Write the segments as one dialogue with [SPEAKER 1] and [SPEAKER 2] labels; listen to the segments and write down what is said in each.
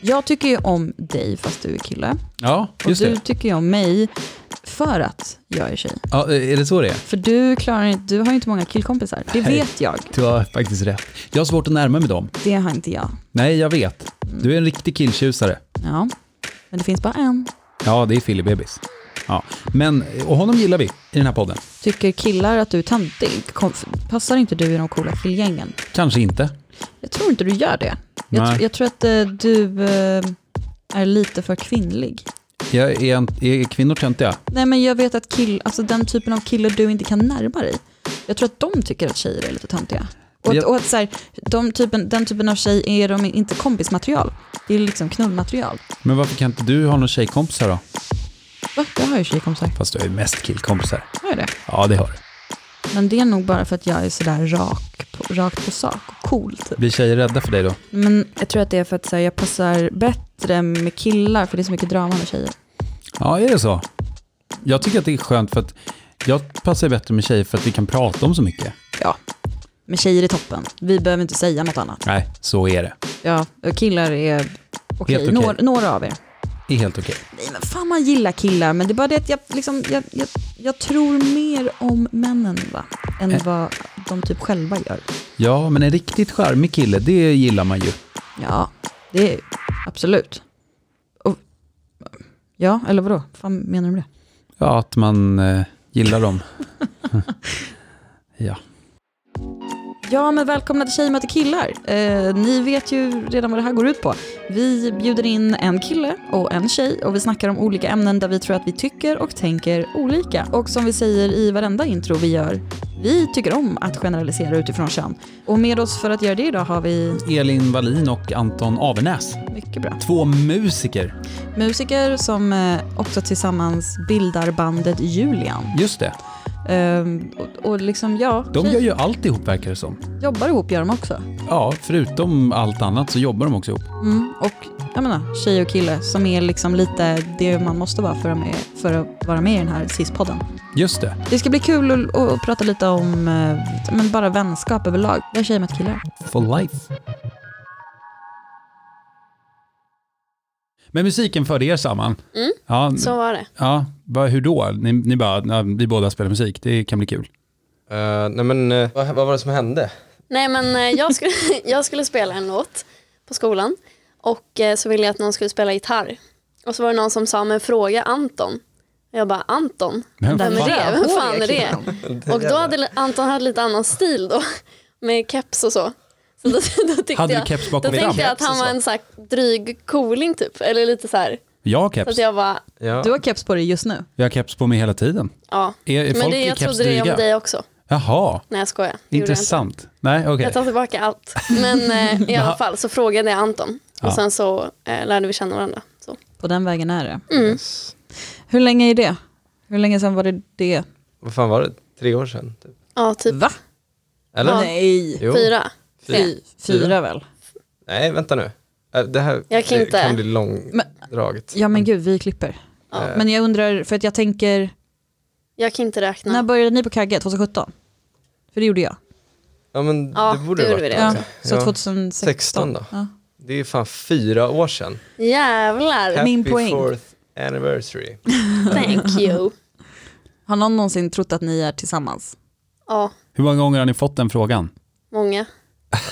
[SPEAKER 1] Jag tycker ju om dig fast du är kille.
[SPEAKER 2] Ja,
[SPEAKER 1] Och
[SPEAKER 2] just
[SPEAKER 1] du
[SPEAKER 2] det.
[SPEAKER 1] tycker ju om mig för att jag är tjej.
[SPEAKER 2] Ja, eh, är det så det är?
[SPEAKER 1] För du, klarar, inte- du har ju inte många killkompisar. Det
[SPEAKER 2] Nej.
[SPEAKER 1] vet jag.
[SPEAKER 2] Du har faktiskt rätt. Jag har svårt att närma mig dem.
[SPEAKER 1] Det har inte jag.
[SPEAKER 2] Nej, jag vet. Du är en riktig killtjusare.
[SPEAKER 1] Ja. Men det finns bara en.
[SPEAKER 2] Ja, det är Philly Bebis. Ja. Men, och honom gillar vi i den här podden.
[SPEAKER 1] Tycker killar att du är töntig? Kom- Passar inte du i de coola killgängen?
[SPEAKER 2] Kanske inte.
[SPEAKER 1] Jag tror inte du gör det. Jag,
[SPEAKER 2] Nej.
[SPEAKER 1] tr- jag tror att eh, du eh, är lite för kvinnlig.
[SPEAKER 2] Jag är, en, är kvinnor töntiga?
[SPEAKER 1] Nej men jag vet att kill, alltså den typen av killar du inte kan närma dig. Jag tror att de tycker att tjejer är lite töntiga. Och, att,
[SPEAKER 2] Jag-
[SPEAKER 1] och att så här, de typen, den typen av tjej är de inte kompismaterial. Det är liksom knullmaterial.
[SPEAKER 2] Men varför kan inte du ha några tjejkompisar då?
[SPEAKER 1] Va? Jag har ju tjejkompisar.
[SPEAKER 2] Fast du är ju mest killkompisar.
[SPEAKER 1] Har jag det?
[SPEAKER 2] Ja, det har du.
[SPEAKER 1] Men det är nog bara för att jag är sådär rak på, rakt på sak och cool typ.
[SPEAKER 2] Blir tjejer rädda för dig då?
[SPEAKER 1] Men jag tror att det är för att så här, jag passar bättre med killar för det är så mycket drama med tjejer.
[SPEAKER 2] Ja, är det så? Jag tycker att det är skönt för att jag passar bättre med tjejer för att vi kan prata om så mycket.
[SPEAKER 1] Ja. Men tjejer är toppen. Vi behöver inte säga något annat.
[SPEAKER 2] Nej, så är det.
[SPEAKER 1] Ja, och killar är okej.
[SPEAKER 2] Helt okej.
[SPEAKER 1] Några, några av er.
[SPEAKER 2] Det är helt okej.
[SPEAKER 1] Nej men fan man gillar killar, men det är bara det att jag, liksom, jag, jag, jag tror mer om männen va? Än
[SPEAKER 2] Eh.
[SPEAKER 1] vad de typ själva gör.
[SPEAKER 2] Ja, men en riktigt charmig kille, det gillar man ju.
[SPEAKER 1] Ja, det är absolut. Och, ja, eller vadå? Fan menar du med det?
[SPEAKER 2] Ja, att man eh, gillar dem. ja.
[SPEAKER 1] Ja, men välkomna till Tjejer möter killar. Eh, ni vet ju redan vad det här går ut på. Vi bjuder in en kille och en tjej och vi snackar om olika ämnen där vi tror att vi tycker och tänker olika. Och som vi säger i varenda intro vi gör, vi tycker om att generalisera utifrån kön. Och med oss för att göra det idag har vi
[SPEAKER 2] Elin Wallin och Anton Avernäs.
[SPEAKER 1] mycket bra
[SPEAKER 2] Två musiker.
[SPEAKER 1] musiker som eh, också tillsammans bildar bandet Julian.
[SPEAKER 2] Just det.
[SPEAKER 1] Eh, och, och liksom, ja,
[SPEAKER 2] De
[SPEAKER 1] tjej-
[SPEAKER 2] gör ju allt ihop verkar det som.
[SPEAKER 1] jobbar ihop gör de också.
[SPEAKER 2] Ja, förutom allt annat så jobbar de också ihop.
[SPEAKER 1] Mm, och jag menar, tjej och kille som är liksom lite det man måste vara för att, med, för att vara med i den här CIS-podden.
[SPEAKER 2] Just det.
[SPEAKER 1] Det ska bli kul att, att prata lite om eh, men bara vänskap överlag. Där tjejer mött killar.
[SPEAKER 2] For life. Men musiken förde er samman?
[SPEAKER 3] Mm.
[SPEAKER 2] Ja,
[SPEAKER 3] Så var det.
[SPEAKER 2] ja vad- hur då? Ni, ni bara, "Ja, vi båda spelar musik, det kan bli kul.
[SPEAKER 4] Eh, nej men, eh, vad, vad var det som hände?
[SPEAKER 3] Nej men eh, jag skulle, jag skulle spela en låt på skolan och eh, så ville jag att någon skulle spela gitarr. Och så var det någon som sa men fråga Anton. Och jag bara Anton?
[SPEAKER 2] Men
[SPEAKER 3] Vem är
[SPEAKER 2] fan,
[SPEAKER 3] det? Vem fan är det? Och då hade li- Anton hade lite annan stil då med keps och så. Så då, då tyckte
[SPEAKER 2] Hade du
[SPEAKER 3] jag,
[SPEAKER 2] keps
[SPEAKER 3] då
[SPEAKER 2] bakom fram?
[SPEAKER 3] tänkte jag att han var en så här dryg cooling typ. Eller lite så här.
[SPEAKER 2] Jag har
[SPEAKER 3] Så
[SPEAKER 2] keps.
[SPEAKER 3] att jag bara
[SPEAKER 4] Ja.
[SPEAKER 1] Du har keps på dig just nu.
[SPEAKER 2] Jag har keps på mig hela tiden.
[SPEAKER 3] ja.
[SPEAKER 2] Är, är
[SPEAKER 3] Men
[SPEAKER 2] folk
[SPEAKER 3] det,
[SPEAKER 2] i
[SPEAKER 3] jag
[SPEAKER 2] keps
[SPEAKER 3] trodde det
[SPEAKER 2] dryga?
[SPEAKER 3] om dig också.
[SPEAKER 2] Jaha,
[SPEAKER 3] Nej jag skojar. Det gjorde jag inte.
[SPEAKER 2] intressant. Nej, okej.
[SPEAKER 3] Jag tar tillbaka allt. Men eh, i alla fall så frågade jag Anton och
[SPEAKER 2] Ja.
[SPEAKER 3] sen så eh, lärde vi känna varandra. Så. mm.
[SPEAKER 1] På den vägen är det.
[SPEAKER 4] Yes.
[SPEAKER 1] Hur länge är det? Hur länge sedan var det det?
[SPEAKER 4] Vad fan var det? Tre år sedan? Typ.
[SPEAKER 3] Ja, typ
[SPEAKER 1] Va?
[SPEAKER 4] Eller?
[SPEAKER 1] Nej.
[SPEAKER 4] Jo.
[SPEAKER 3] fyra.
[SPEAKER 1] Fy, fyra väl?
[SPEAKER 4] Nej, vänta nu. Eh, Det här
[SPEAKER 3] Jag kan
[SPEAKER 4] det
[SPEAKER 3] inte.
[SPEAKER 4] kan bli långdraget.
[SPEAKER 1] Ja men gud, vi klipper.
[SPEAKER 3] Mm. Ja.
[SPEAKER 1] Men jag undrar, för att jag tänker,
[SPEAKER 3] Jag kan inte räkna.
[SPEAKER 1] när började ni på Kagge? 2017? För det gjorde jag.
[SPEAKER 4] Ja, men
[SPEAKER 3] Ja,
[SPEAKER 4] det borde
[SPEAKER 3] då
[SPEAKER 4] det
[SPEAKER 3] gjorde
[SPEAKER 4] varit.
[SPEAKER 3] vi det
[SPEAKER 1] Ja,
[SPEAKER 3] också.
[SPEAKER 1] så
[SPEAKER 4] Ja.
[SPEAKER 1] 2016.
[SPEAKER 4] 16 då.
[SPEAKER 1] Ja.
[SPEAKER 4] Det är fan fyra år sedan.
[SPEAKER 3] Jävlar,
[SPEAKER 1] Min poäng.
[SPEAKER 4] fourth anniversary.
[SPEAKER 3] thank you.
[SPEAKER 1] Har någon någonsin trott att ni är tillsammans?
[SPEAKER 3] Ja,
[SPEAKER 2] Hur många gånger har ni fått den frågan?
[SPEAKER 3] många.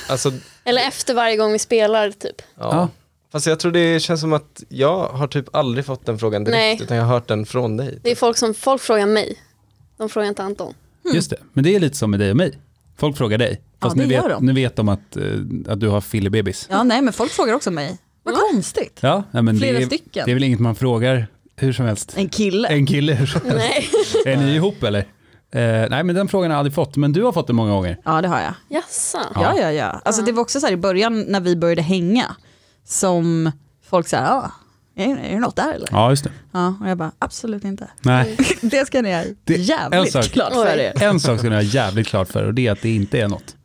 [SPEAKER 4] Alltså,
[SPEAKER 3] Eller efter varje gång vi spelar typ.
[SPEAKER 4] ja.
[SPEAKER 2] Ja.
[SPEAKER 4] Fast jag tror det känns som att jag har typ aldrig fått den frågan direkt,
[SPEAKER 3] Nej.
[SPEAKER 4] utan jag har hört den från dig.
[SPEAKER 3] Det är folk som, folk frågar mig. De frågar inte Anton.
[SPEAKER 2] Just det, men det är lite som med dig och mig. Folk frågar dig. Fast
[SPEAKER 1] det
[SPEAKER 2] nu,
[SPEAKER 1] gör
[SPEAKER 2] vet,
[SPEAKER 1] de.
[SPEAKER 2] nu vet de att, eh, att du har fillebebis.
[SPEAKER 1] Ja, nej, men folk frågar också mig. Vad konstigt.
[SPEAKER 2] Ja, ja, men
[SPEAKER 1] Flera
[SPEAKER 2] det, är,
[SPEAKER 1] stycken.
[SPEAKER 2] det är väl inget man frågar hur som helst.
[SPEAKER 1] En kille.
[SPEAKER 2] En kille hur som helst.
[SPEAKER 3] Nej,
[SPEAKER 2] Är ni ihop eller? Eh, nej, men den frågan har jag aldrig fått, men du har fått den många gånger.
[SPEAKER 1] Ja, det har jag.
[SPEAKER 3] jassa.
[SPEAKER 1] Ja, ja, ja. Alltså, det var också så här i början när vi började hänga som folk sa, ja, är, är det något där eller?
[SPEAKER 2] Ja, just det.
[SPEAKER 1] Ja, och jag bara, absolut inte.
[SPEAKER 2] Nej.
[SPEAKER 1] Det ska ni Mm. ha
[SPEAKER 2] Det- en
[SPEAKER 1] jävligt
[SPEAKER 2] sak.
[SPEAKER 1] klart för
[SPEAKER 3] Oj.
[SPEAKER 1] er.
[SPEAKER 2] En sak ska ni ha jävligt klart för och det är att det inte är något.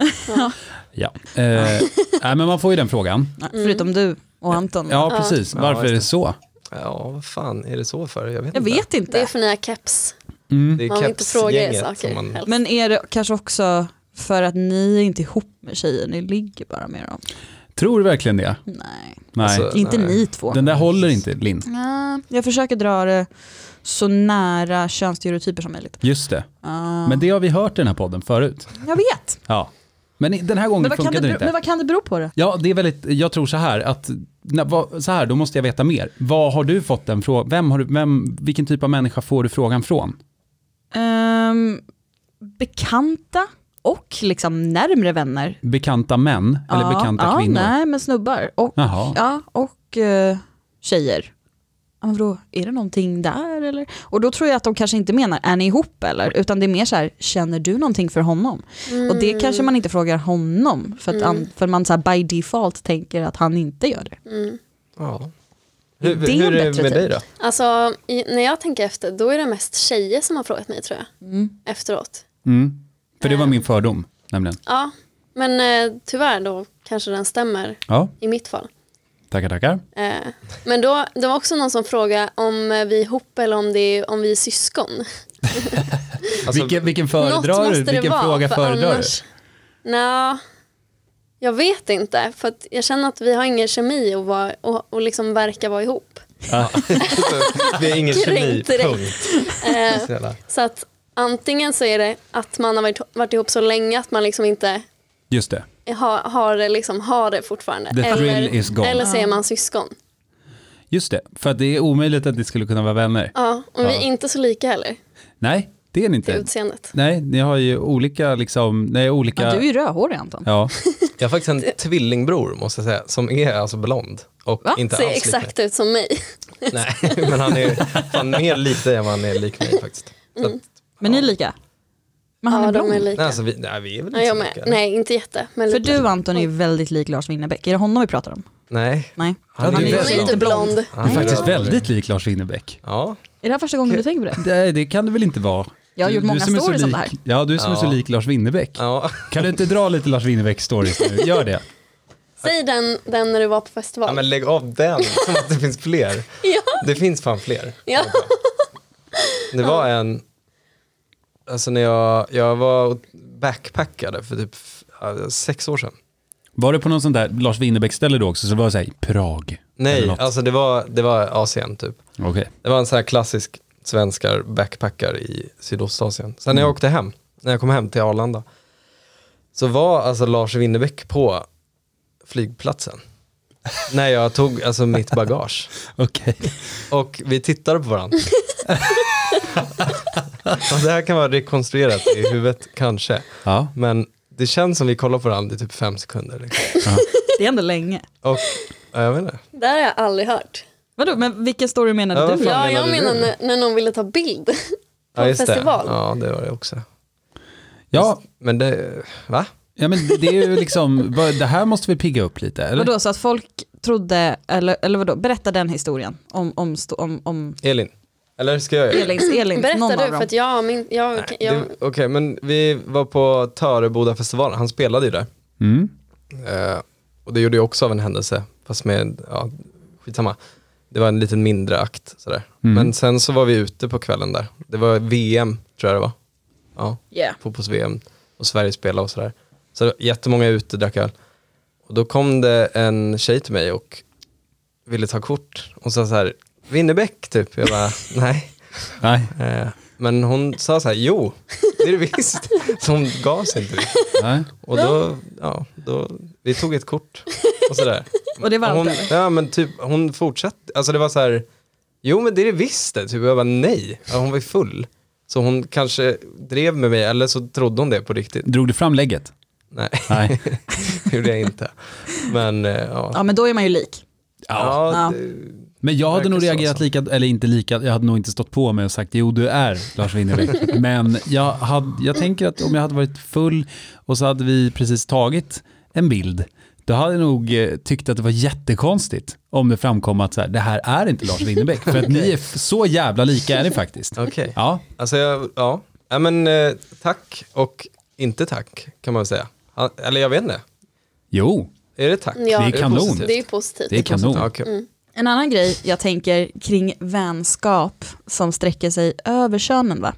[SPEAKER 2] Ja. Eh, nej, men man får ju den frågan.
[SPEAKER 1] Ja, Förutom du och Anton.
[SPEAKER 2] Ja, precis.
[SPEAKER 4] Ja,
[SPEAKER 2] Varför
[SPEAKER 4] just
[SPEAKER 2] är
[SPEAKER 4] det.
[SPEAKER 2] det så?
[SPEAKER 4] Ja, vad fan är det så för? Jag vet
[SPEAKER 1] Jag
[SPEAKER 4] inte.
[SPEAKER 1] vet
[SPEAKER 3] Det är
[SPEAKER 1] inte.
[SPEAKER 3] för nya keps.
[SPEAKER 2] Mm.
[SPEAKER 4] Det är
[SPEAKER 3] Man vill inte fråga er
[SPEAKER 4] kepsgänget
[SPEAKER 3] saker.
[SPEAKER 4] som man...
[SPEAKER 3] helst.
[SPEAKER 1] Men är det kanske också för att ni är inte ihop med tjejer, ni ligger bara med dem.
[SPEAKER 2] Tror du verkligen det?
[SPEAKER 1] Nej,
[SPEAKER 2] Äh, Nej.
[SPEAKER 4] Alltså,
[SPEAKER 1] inte
[SPEAKER 4] nej.
[SPEAKER 1] ni två.
[SPEAKER 2] den där håller inte, Linn.
[SPEAKER 1] Nej, jag försöker dra det så nära könsstereotyper som möjligt.
[SPEAKER 2] Just det.
[SPEAKER 1] Ah.
[SPEAKER 2] Men det har vi hört i den här podden förut.
[SPEAKER 1] Jag vet.
[SPEAKER 2] Ja. Men i- den här gången
[SPEAKER 1] Men vad, kan det
[SPEAKER 2] funkade det
[SPEAKER 1] bero,
[SPEAKER 2] inte.
[SPEAKER 1] men vad kan det bero på då?
[SPEAKER 2] Ja, det är väldigt, jag tror så här att, na, vad, så här, då måste jag veta mer. Vad har du fått den frågan, vem har du, vem, vilken typ av människa får du frågan från?
[SPEAKER 1] Ehm, bekanta och liksom närmre vänner.
[SPEAKER 2] Bekanta män eller
[SPEAKER 1] Ja,
[SPEAKER 2] bekanta
[SPEAKER 1] ja,
[SPEAKER 2] kvinnor?
[SPEAKER 1] Nej, men snubbar. Och,
[SPEAKER 2] Jaha.
[SPEAKER 1] ja, och eh, tjejer. Ja, men då, är det någonting där eller? Och då tror jag att de kanske inte menar, är ni ihop eller? Utan det är mer så här, känner du någonting för honom? Och det kanske man inte frågar honom, för, att an, för man så här, by default tänker att han inte gör det.
[SPEAKER 3] Mm.
[SPEAKER 4] Ja.
[SPEAKER 1] Det är
[SPEAKER 4] Hur, hur
[SPEAKER 1] en
[SPEAKER 4] är det
[SPEAKER 1] bättre
[SPEAKER 3] typ.
[SPEAKER 4] med
[SPEAKER 1] tid.
[SPEAKER 4] dig då?
[SPEAKER 3] Alltså, i, när jag tänker efter, då är det mest tjejer som har frågat mig tror jag. Efteråt.
[SPEAKER 2] Mm. För det var min fördom, nämligen.
[SPEAKER 3] Ja, men eh, tyvärr då kanske den stämmer
[SPEAKER 2] Ja,
[SPEAKER 3] i mitt fall.
[SPEAKER 2] tackar, tackar.
[SPEAKER 3] Eh, men då, det var också någon som frågade om eh, vi är ihop eller om, det är, om vi är syskon.
[SPEAKER 4] Alltså,
[SPEAKER 2] vilken, vilken
[SPEAKER 3] Något
[SPEAKER 2] föredrar du?
[SPEAKER 3] måste det
[SPEAKER 2] Vilken
[SPEAKER 3] vara,
[SPEAKER 2] fråga
[SPEAKER 3] för
[SPEAKER 2] föredrar
[SPEAKER 3] annars... du? Nå, jag vet inte, för att jag känner att vi har ingen kemi och, var, och, och liksom verkar vara ihop.
[SPEAKER 4] Det är ingen kemi,
[SPEAKER 3] Kränkt direkt.
[SPEAKER 4] punkt.
[SPEAKER 3] Eh,
[SPEAKER 4] Snälla.
[SPEAKER 3] så att antingen så är det att man har varit, varit ihop så länge att man liksom inte
[SPEAKER 2] du? Just det.
[SPEAKER 3] har, har, det, liksom, har det fortfarande.
[SPEAKER 2] The
[SPEAKER 3] eller,
[SPEAKER 2] thrill is gone.
[SPEAKER 3] eller så är man syskon.
[SPEAKER 2] Just det, för att det är omöjligt att det skulle kunna vara vänner.
[SPEAKER 3] Ja, och vi är inte så lika heller
[SPEAKER 2] Nej, det är ni
[SPEAKER 3] till
[SPEAKER 2] inte.
[SPEAKER 3] utseendet.
[SPEAKER 2] Nej, ni har ju olika, liksom, nej, olika...
[SPEAKER 1] Ja, du är ju rödhårig Anton.
[SPEAKER 2] Ja,
[SPEAKER 4] Jag har faktiskt en tvillingbror måste jag säga, som är alltså blond. Och
[SPEAKER 1] Va?
[SPEAKER 4] inte
[SPEAKER 3] Ser
[SPEAKER 4] alls
[SPEAKER 3] exakt ut som mig.
[SPEAKER 4] lik mig. Nej, men han är fan mer lik dig än vad han är lik
[SPEAKER 3] Mm.
[SPEAKER 4] mig faktiskt. Så att,
[SPEAKER 1] Men ni är lika? Men han
[SPEAKER 3] ja,
[SPEAKER 1] är
[SPEAKER 3] de
[SPEAKER 1] blond.
[SPEAKER 3] är lika.
[SPEAKER 4] nej, alltså, vi, nej, vi är väl
[SPEAKER 3] ja,
[SPEAKER 4] inte
[SPEAKER 3] jag
[SPEAKER 4] så
[SPEAKER 3] med.
[SPEAKER 4] lika?
[SPEAKER 3] Nej, inte jätte. Men
[SPEAKER 1] För
[SPEAKER 3] lite.
[SPEAKER 1] du Anton är ju väldigt lik Lars Winnerbäck. Är det honom vi pratar om?
[SPEAKER 4] Nej.
[SPEAKER 1] Nej.
[SPEAKER 4] Han är
[SPEAKER 1] Han är
[SPEAKER 4] ju
[SPEAKER 1] ju
[SPEAKER 3] Hon är
[SPEAKER 4] väldigt
[SPEAKER 3] inte
[SPEAKER 1] inte blond.
[SPEAKER 3] blond.
[SPEAKER 4] Han
[SPEAKER 2] du är faktiskt
[SPEAKER 4] röd.
[SPEAKER 2] väldigt lik Lars Winnerbäck.
[SPEAKER 4] Ja,
[SPEAKER 1] Är det här första gången du tänker på det?
[SPEAKER 2] Nej, det kan det väl inte vara?
[SPEAKER 1] Jag har
[SPEAKER 2] Du-
[SPEAKER 1] gjort
[SPEAKER 2] du
[SPEAKER 1] många
[SPEAKER 2] som är så
[SPEAKER 1] stories om
[SPEAKER 2] lik-
[SPEAKER 1] det här.
[SPEAKER 2] Ja, du som är så
[SPEAKER 4] Ja.
[SPEAKER 2] lik Lars Winnerbäck.
[SPEAKER 4] ja.
[SPEAKER 2] Kan du inte dra lite Lars Winnerbäck-stories nu? Gör det.
[SPEAKER 3] Säg den, den när du var på festival.
[SPEAKER 4] ja, men lägg av den, som att det finns fler.
[SPEAKER 3] Ja.
[SPEAKER 4] Det finns fan fler.
[SPEAKER 3] Ja.
[SPEAKER 4] Det var en, alltså när jag, jag var och backpackade för typ ja, sex år sedan.
[SPEAKER 2] Var det på någon sån där Lars Winnerbäck-ställe då också? Så det var såhär, Prag? eller
[SPEAKER 4] Nej,
[SPEAKER 2] något?
[SPEAKER 4] alltså det var, det var Asien typ.
[SPEAKER 2] Okej.
[SPEAKER 4] Det var en sån här klassisk svenskar backpackar i Sydostasien. Sen när jag åkte hem, när jag kom hem till Arlanda, så var alltså Lars Winnerbäck på flygplatsen. när jag tog alltså mitt bagage.
[SPEAKER 2] Okej.
[SPEAKER 4] Och vi tittade på varandra. och det här kan vara rekonstruerat i huvudet kanske.
[SPEAKER 2] Ja.
[SPEAKER 4] Men det känns som vi kollar på varandra i typ fem sekunder. Liksom.
[SPEAKER 1] Det är ändå länge.
[SPEAKER 4] Och, ja, jag vet inte.
[SPEAKER 3] Det har jag aldrig hört.
[SPEAKER 1] Vadå, men vilken story menade
[SPEAKER 4] Ja,
[SPEAKER 1] du?
[SPEAKER 4] vad fan.
[SPEAKER 3] Ja, jag
[SPEAKER 4] menade
[SPEAKER 3] menar
[SPEAKER 4] du?
[SPEAKER 3] när, när någon ville ta bild.
[SPEAKER 4] Ja, just det.
[SPEAKER 3] festival.
[SPEAKER 4] Ja, det var det också.
[SPEAKER 2] Ja,
[SPEAKER 4] Men det, va?
[SPEAKER 2] ja, men det är ju liksom, vad- det här måste vi pigga upp lite, eller?
[SPEAKER 1] Vadå, så att folk trodde, eller, eller vadå, berätta den historien om, om, sto- om, om
[SPEAKER 4] Elin? Eller ska jag göra det?
[SPEAKER 1] Elins, Elins någon
[SPEAKER 3] Berättar
[SPEAKER 1] av
[SPEAKER 3] du?
[SPEAKER 1] dem.
[SPEAKER 3] För att jag, min, jag, jag,
[SPEAKER 4] Det- Okej, men vi var på Törebodafestivalen, han spelade ju där.
[SPEAKER 2] Mm.
[SPEAKER 4] Eh, och det gjorde jag också av en händelse, fast med, ja, skitsamma. Det var en liten mindre akt sådär. Men sen så var vi ute på kvällen där. Det var VM, tror jag det var. Ja,
[SPEAKER 1] Yeah.
[SPEAKER 4] fotbolls-VM och Sverige spelade och sådär. Så det var jättemånga ute drack öl. Och då kom det en tjej till mig och ville ta kort. Och sa så här, Winnerbäck typ. Jag bara, nej.
[SPEAKER 2] Nej,
[SPEAKER 4] Eh, Men hon sa så här, jo, det är det visst. Så hon gav sig inte.
[SPEAKER 2] nej.
[SPEAKER 4] Och då, ja, då, vi tog ett kort och sådär.
[SPEAKER 1] Och det var allt,
[SPEAKER 4] hon,
[SPEAKER 1] eller?
[SPEAKER 4] Ja, men typ, hon fortsatte, alltså det var så här, jo men det är det visst det. Typ, jag bara nej, ja, hon var ju full. Så hon kanske drev med mig, eller så trodde hon det på riktigt.
[SPEAKER 2] Drog du fram lägget?
[SPEAKER 4] Nej,
[SPEAKER 2] Nej.
[SPEAKER 4] det gjorde jag inte. Men eh, ja.
[SPEAKER 1] Ja, men då är man ju lik.
[SPEAKER 2] Ja.
[SPEAKER 4] Ja,
[SPEAKER 1] Ja.
[SPEAKER 4] det-
[SPEAKER 2] Men jag hade
[SPEAKER 4] Verkar
[SPEAKER 2] nog
[SPEAKER 4] så, alltså.
[SPEAKER 2] reagerat
[SPEAKER 4] så.
[SPEAKER 2] lika, eller inte lika, jag hade nog inte stått på mig och sagt jo du är Lars Winnerbäck. Men jag, hade, jag tänker att om jag hade varit full och så hade vi precis tagit en bild, då hade jag nog eh, tyckt att det var jättekonstigt om det framkom att så här, det här är inte Lars Winnerbäck. För att ni är f- så jävla lika är ni faktiskt.
[SPEAKER 4] Okej.
[SPEAKER 2] Ja,
[SPEAKER 4] Alltså, jag, ja. ja men eh, tack och inte tack kan man väl säga. Ja, Eller jag vet inte.
[SPEAKER 2] jo,
[SPEAKER 4] Är det tack?
[SPEAKER 3] Ja. Det är
[SPEAKER 2] kanon.
[SPEAKER 4] positivt?
[SPEAKER 3] det är ju positivt. Mm.
[SPEAKER 2] det är kanon.
[SPEAKER 4] Ja, kul.
[SPEAKER 1] En annan grej jag tänker kring vänskap som sträcker sig över könen, va?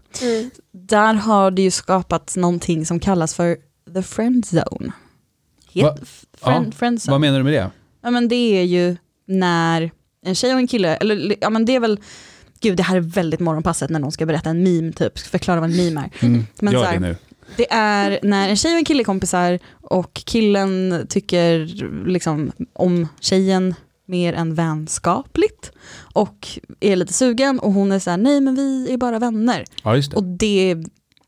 [SPEAKER 1] där har det ju skapats någonting som kallas för the friend zone.
[SPEAKER 2] Va-
[SPEAKER 1] Het, f- friend,
[SPEAKER 2] Ja,
[SPEAKER 1] friendzone.
[SPEAKER 2] Vad menar du med det?
[SPEAKER 1] Ja men det är ju när en tjej och en kille, eller ja men det är väl, gud det här är väldigt morgonpasset när någon ska berätta en meme typ, ska förklara vad en meme är.
[SPEAKER 2] Mm.
[SPEAKER 1] Men
[SPEAKER 2] Gör
[SPEAKER 1] så här-
[SPEAKER 2] det nu.
[SPEAKER 1] Det är när en tjej och en kille är kompisar och killen tycker liksom om tjejen mer än vänskapligt och är lite sugen och hon är så här, nej men vi är bara vänner.
[SPEAKER 2] Ja, just det.
[SPEAKER 1] Och det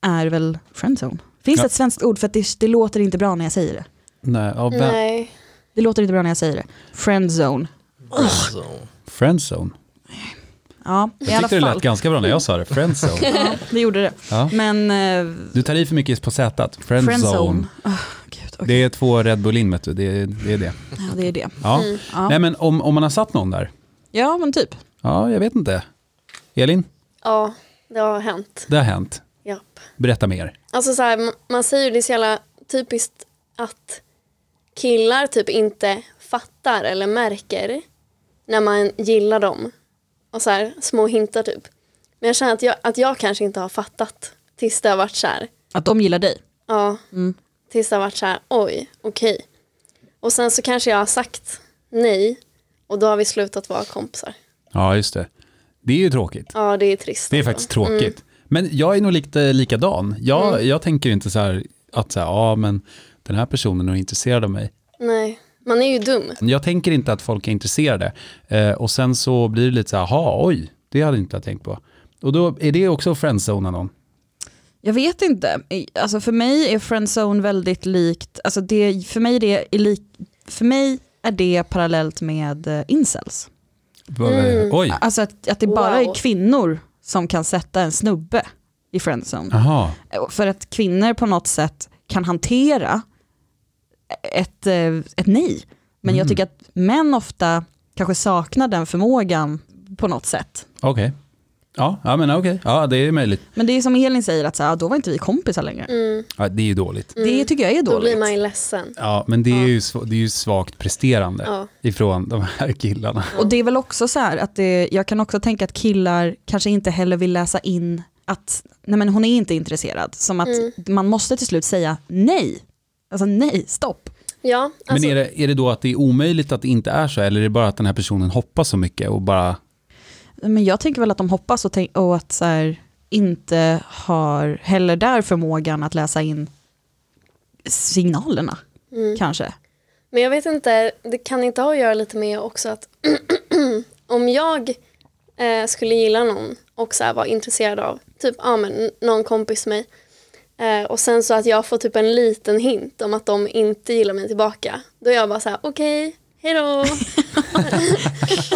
[SPEAKER 1] är väl friendzone. Finns det
[SPEAKER 2] Ja.
[SPEAKER 1] ett svenskt ord för att det, det låter inte bra när jag säger det?
[SPEAKER 2] Nej, ja, vem-
[SPEAKER 3] Nej.
[SPEAKER 1] Det låter inte bra när jag säger det. Friendzone.
[SPEAKER 4] Friendzone.
[SPEAKER 2] Friendzone.
[SPEAKER 1] Ja, i
[SPEAKER 2] Jag
[SPEAKER 1] alla
[SPEAKER 2] tyckte det
[SPEAKER 1] fall.
[SPEAKER 2] lät ganska bra när jag sa det. Friendzone.
[SPEAKER 1] Ja, det gjorde det.
[SPEAKER 2] Ja.
[SPEAKER 1] Men eh,
[SPEAKER 2] Du tar i för mycket på Z. Friendzone.
[SPEAKER 1] friendzone. Åh, gud, okej.
[SPEAKER 2] Det är två Red Bull in, vet du. Det, är- det är det.
[SPEAKER 1] Ja, det är det.
[SPEAKER 2] Ja.
[SPEAKER 1] Ja.
[SPEAKER 2] Nej, men om, om man har satt någon där?
[SPEAKER 1] ja men typ.
[SPEAKER 2] Ja, jag vet inte. Elin,
[SPEAKER 3] Ja, det har hänt.
[SPEAKER 2] det har hänt.
[SPEAKER 3] Japp.
[SPEAKER 2] Berätta mer.
[SPEAKER 3] Alltså så här, m- man säger ju det är så jävla typiskt att killar typ inte fattar eller märker när man gillar dem. Och så här, små hintar typ. Men jag känner att jag, att jag kanske inte har fattat tills det har varit så här.
[SPEAKER 1] Att de gillar dig.
[SPEAKER 3] Ja,
[SPEAKER 1] Mm.
[SPEAKER 3] tills det har varit så här, oj, okej. Och sen så kanske jag har sagt nej och då har vi slutat vara kompisar.
[SPEAKER 2] Ja, just det. Det är ju tråkigt.
[SPEAKER 3] Ja, det är trist.
[SPEAKER 2] Det är
[SPEAKER 3] alltså.
[SPEAKER 2] faktiskt tråkigt. Men jag är nog lite likadan. Jag,
[SPEAKER 3] Mm.
[SPEAKER 2] jag tänker inte så här att så här, ja men den här personen är intresserad av mig.
[SPEAKER 3] Nej, man är ju dum.
[SPEAKER 2] Jag tänker inte att folk är intresserade. Eh, och sen så blir det lite så här, jaha, oj, det hade jag inte jag tänkt på. Och då är det också friendzona någon.
[SPEAKER 1] Jag vet inte. I- Alltså för mig är friendzone väldigt likt, alltså det, för, mig det är lik, för mig är det parallellt med eh, incels.
[SPEAKER 3] Mm.
[SPEAKER 2] Oj,
[SPEAKER 1] Alltså att, att det bara
[SPEAKER 3] Wow.
[SPEAKER 1] är kvinnor som kan sätta en snubbe i friendzone.
[SPEAKER 2] jaha,
[SPEAKER 1] Eh, För att kvinnor på något sätt kan hantera ett, eh, ett nej. Men jag
[SPEAKER 2] Mm.
[SPEAKER 1] tycker att män ofta kanske saknar den förmågan på något sätt.
[SPEAKER 2] okej. Ja, ja, men okej, ja det är möjligt.
[SPEAKER 1] Men det är som Elin säger, att så här, "Ah, då var inte vi kompisar längre.
[SPEAKER 3] Mm,
[SPEAKER 2] Ja, det är ju dåligt.
[SPEAKER 1] Det tycker jag är
[SPEAKER 3] då blir
[SPEAKER 1] dåligt.
[SPEAKER 3] man ju ledsen.
[SPEAKER 2] Ja, men det är ju, sv- det är ju svagt presterande
[SPEAKER 3] Ja.
[SPEAKER 2] ifrån de här killarna.
[SPEAKER 1] Och det är väl också så här att det, jag kan också tänka att killar kanske inte heller vill läsa in att nej men hon är inte intresserad. Som att man måste till slut säga nej. Alltså nej, stopp.
[SPEAKER 3] Ja, alltså,
[SPEAKER 2] men är det, är det då att det är omöjligt att det inte är så, eller är det bara att den här personen hoppas så mycket och bara
[SPEAKER 1] Men jag tänker väl att de hoppas och, tänk, och att så här, inte har heller där förmågan att läsa in signalerna kanske.
[SPEAKER 3] Men jag vet inte, det kan inte ha att göra lite med också att om jag eh, skulle gilla någon och så här vara intresserad av typ ja, men, någon kompis med mig eh, och sen så att jag får typ en liten hint om att de inte gillar mig tillbaka då är jag bara så här okej, hejdå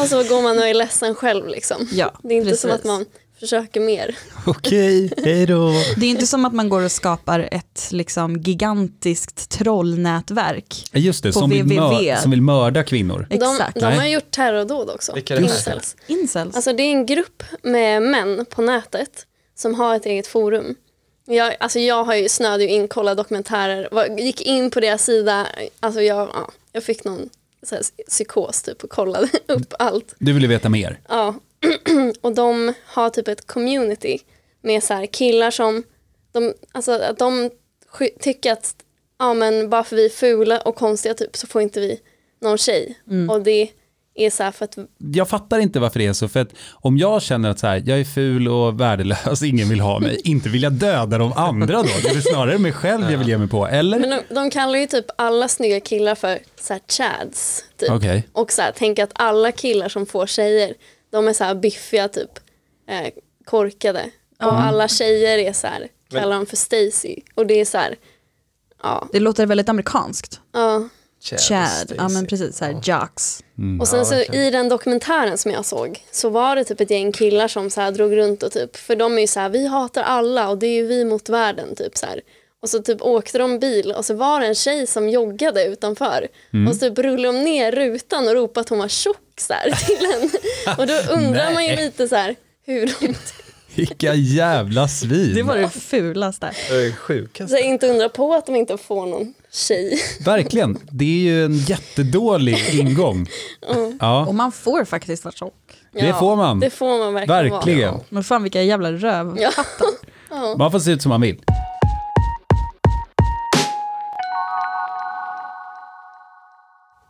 [SPEAKER 3] och så går man och är ledsen själv liksom.
[SPEAKER 1] Ja,
[SPEAKER 3] Det är inte som
[SPEAKER 1] precis.
[SPEAKER 3] att man försöker mer.
[SPEAKER 2] Okej, hej då.
[SPEAKER 1] Det är inte som att man går och skapar ett liksom, gigantiskt trollnätverk.
[SPEAKER 2] Just det,
[SPEAKER 1] På
[SPEAKER 2] som vill,
[SPEAKER 1] VVV.
[SPEAKER 2] mör, som vill mörda kvinnor.
[SPEAKER 1] Exakt.
[SPEAKER 3] De, de har
[SPEAKER 2] Nej.
[SPEAKER 3] ju gjort terrordåd också.
[SPEAKER 4] Vilka är det här?
[SPEAKER 3] Incels.
[SPEAKER 1] Incels.
[SPEAKER 3] Alltså det är en grupp med män på nätet som har ett eget forum. Jag, alltså jag har ju snöade ju in, kollade dokumentärer, var, gick in på deras sida, alltså jag, ja, jag fick någon så här, psykos typ och kollade upp allt.
[SPEAKER 2] Du vill ju veta mer.
[SPEAKER 3] Ja. och de har typ ett community med så här killar som, de, alltså att de sky- tycker att ja men bara för vi är fula och konstiga typ så får inte vi någon tjej. Och det är så här för att
[SPEAKER 2] Jag fattar inte varför det är så, för att om jag känner att så här, jag är ful och värdelös, ingen vill ha mig, inte vill jag döda de andra då, det är väl snarare mig själv jag vill ge mig på, eller?
[SPEAKER 3] Men de, de kallar ju typ alla snygga killar för så här, chads. Typ.
[SPEAKER 2] Okej.
[SPEAKER 3] Och så här, tänk att alla killar som får tjejer, de är så här biffiga typ, eh, korkade. Och alla tjejer är så här, kallar dem för Stacy. Och det är så här, ja.
[SPEAKER 1] Det låter väldigt amerikanskt.
[SPEAKER 3] ja.
[SPEAKER 4] Chad.
[SPEAKER 1] Chad, ja men
[SPEAKER 4] Stacy.
[SPEAKER 1] precis, så här, jocks.
[SPEAKER 3] Och sen så
[SPEAKER 4] verkligen.
[SPEAKER 3] i den dokumentären som jag såg så var det typ ett gäng killar som så här drog runt och typ, för de är ju så här, vi hatar alla och det är ju vi mot världen typ så här. Och så typ åkte de bil och så var det en tjej som joggade utanför
[SPEAKER 2] Mm.
[SPEAKER 3] och så typ rullade de ner rutan och ropade att hon var tjock så här till henne. Och då undrar man ju
[SPEAKER 2] Nej.
[SPEAKER 3] lite så här hur de,
[SPEAKER 2] Vilka jävla svin.
[SPEAKER 1] Det var det fulaste.
[SPEAKER 4] Det är alltså. sjukast.
[SPEAKER 3] så här, inte undra på att de inte får någon tjej.
[SPEAKER 2] Verkligen, det är ju en jättedålig ingång. Ja,
[SPEAKER 1] Och man får faktiskt vara tjock.
[SPEAKER 2] det får man.
[SPEAKER 3] Det får man verkligen,
[SPEAKER 2] Verkligen.
[SPEAKER 3] vara.
[SPEAKER 1] Men fan vilka jävla röv.
[SPEAKER 3] Ja.
[SPEAKER 2] Man får se ut som man vill.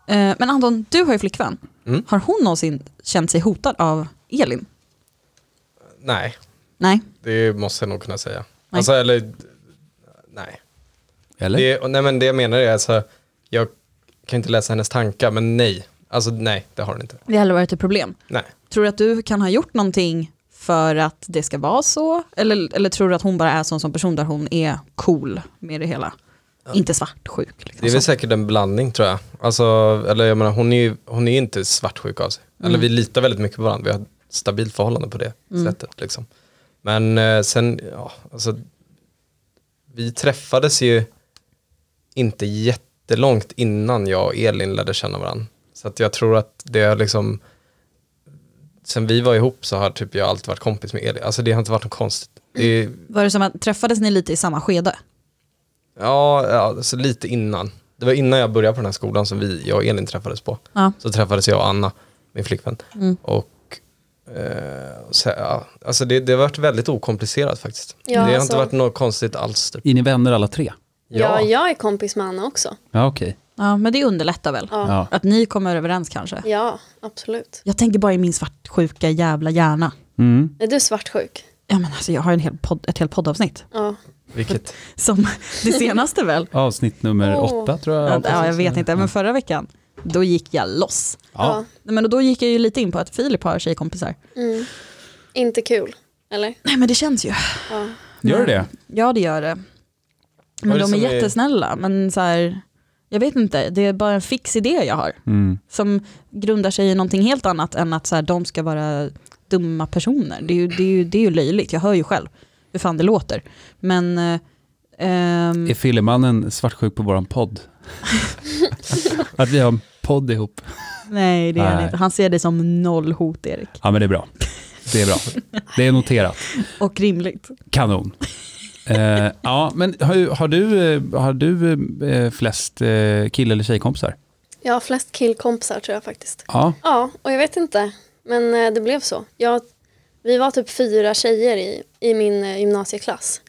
[SPEAKER 1] Eh, Men Anton, du har ju flickvän.
[SPEAKER 4] Mm.
[SPEAKER 1] Har hon någonsin känt sig hotad av Elin?
[SPEAKER 4] Nej,
[SPEAKER 1] Nej.
[SPEAKER 4] det måste jag nog kunna säga.
[SPEAKER 1] Nej.
[SPEAKER 4] Alltså, eller, nej.
[SPEAKER 2] Eller?
[SPEAKER 4] Det, och nej, men det jag menar är alltså, jag kan inte läsa hennes tankar, men nej. Alltså nej, det har hon inte.
[SPEAKER 1] Det har aldrig varit ett problem.
[SPEAKER 4] Nej.
[SPEAKER 1] Tror du att du kan ha gjort någonting för att det ska vara så? Eller, eller tror du att hon bara är sån som person där hon är cool med det hela? Inte svartsjuk. Liksom.
[SPEAKER 4] Det är väl
[SPEAKER 1] så.
[SPEAKER 4] säkert en blandning tror jag. Alltså, eller jag menar, hon är ju hon är ju inte svartsjuk av sig. Eller vi litar väldigt mycket på varandra, vi har ett stabilt förhållande på det sättet. Liksom. Men eh, sen, ja, alltså, vi träffades ju inte jättelångt innan jag och Elin lärde känna varandra. Så att jag tror att det har liksom, sen vi var ihop så har typ jag alltid varit kompis med Elin. Alltså det har inte varit något konstigt. Det är,
[SPEAKER 1] Var det som att träffades ni lite i samma skede?
[SPEAKER 4] Ja, ja, alltså lite innan. Det var innan jag började på den här skolan som vi, jag och Elin träffades på.
[SPEAKER 1] Ja.
[SPEAKER 4] Så träffades jag och Anna, min flickvän.
[SPEAKER 3] Mm.
[SPEAKER 4] Och eh, så, ja, alltså det, det har varit väldigt okomplicerat faktiskt.
[SPEAKER 3] Ja,
[SPEAKER 4] det har
[SPEAKER 3] alltså-
[SPEAKER 4] inte varit något konstigt alls. Typ.
[SPEAKER 2] Är ni vänner alla tre?
[SPEAKER 3] Ja, jag är kompis med Anna också.
[SPEAKER 2] Ja, okej.
[SPEAKER 1] Ja, men det underlättar väl?
[SPEAKER 2] Ja.
[SPEAKER 1] Att ni kommer överens kanske?
[SPEAKER 3] Ja, absolut.
[SPEAKER 1] Jag tänker bara i min svartsjuka jävla hjärna.
[SPEAKER 2] Mm.
[SPEAKER 3] Är du svartsjuk?
[SPEAKER 1] Ja, men alltså, jag har en hel podd, ett helt poddavsnitt.
[SPEAKER 3] Ja.
[SPEAKER 4] Vilket,
[SPEAKER 1] Som det senaste väl?
[SPEAKER 2] Avsnitt nummer
[SPEAKER 3] Åh.
[SPEAKER 2] åtta tror jag.
[SPEAKER 1] Ja, ja, jag vet inte, men förra veckan, då gick jag loss.
[SPEAKER 2] Ja.
[SPEAKER 1] Nej, Men då gick jag ju lite in på att Filip har tjejkompisar.
[SPEAKER 3] Mm. Inte kul, eller?
[SPEAKER 1] Nej men det känns ju.
[SPEAKER 3] Ja.
[SPEAKER 2] Gör det det?
[SPEAKER 1] Ja det gör det. Men
[SPEAKER 4] Vad är det
[SPEAKER 1] de är
[SPEAKER 4] som är-
[SPEAKER 1] jättesnälla. Men så här, jag vet inte, det är bara en fix idé jag har.
[SPEAKER 2] Mm.
[SPEAKER 1] Som grundar sig i någonting helt annat än att så här, de ska vara dumma personer. Det är, ju, det, är ju, det är ju löjligt, jag hör ju själv hur fan det låter. Men eh, ehm,
[SPEAKER 2] Är Fillemannen svartsjuk på våran podd? att vi har en podd ihop.
[SPEAKER 1] nej det är han
[SPEAKER 2] Nej.
[SPEAKER 1] inte. Han ser det som noll hot Erik.
[SPEAKER 2] Ja men det är bra. Det är bra. Det är noterat.
[SPEAKER 1] Och rimligt.
[SPEAKER 2] Kanon. Eh, ja, men har, har du, eh, har du eh, flest eh, kill eller tjejkompisar?
[SPEAKER 3] Jag har flest killkompisar tror jag faktiskt.
[SPEAKER 2] Ja.
[SPEAKER 3] Ja, och jag vet inte. Men eh, det blev så. Jag, vi var typ fyra tjejer i, i min eh, gymnasieklass.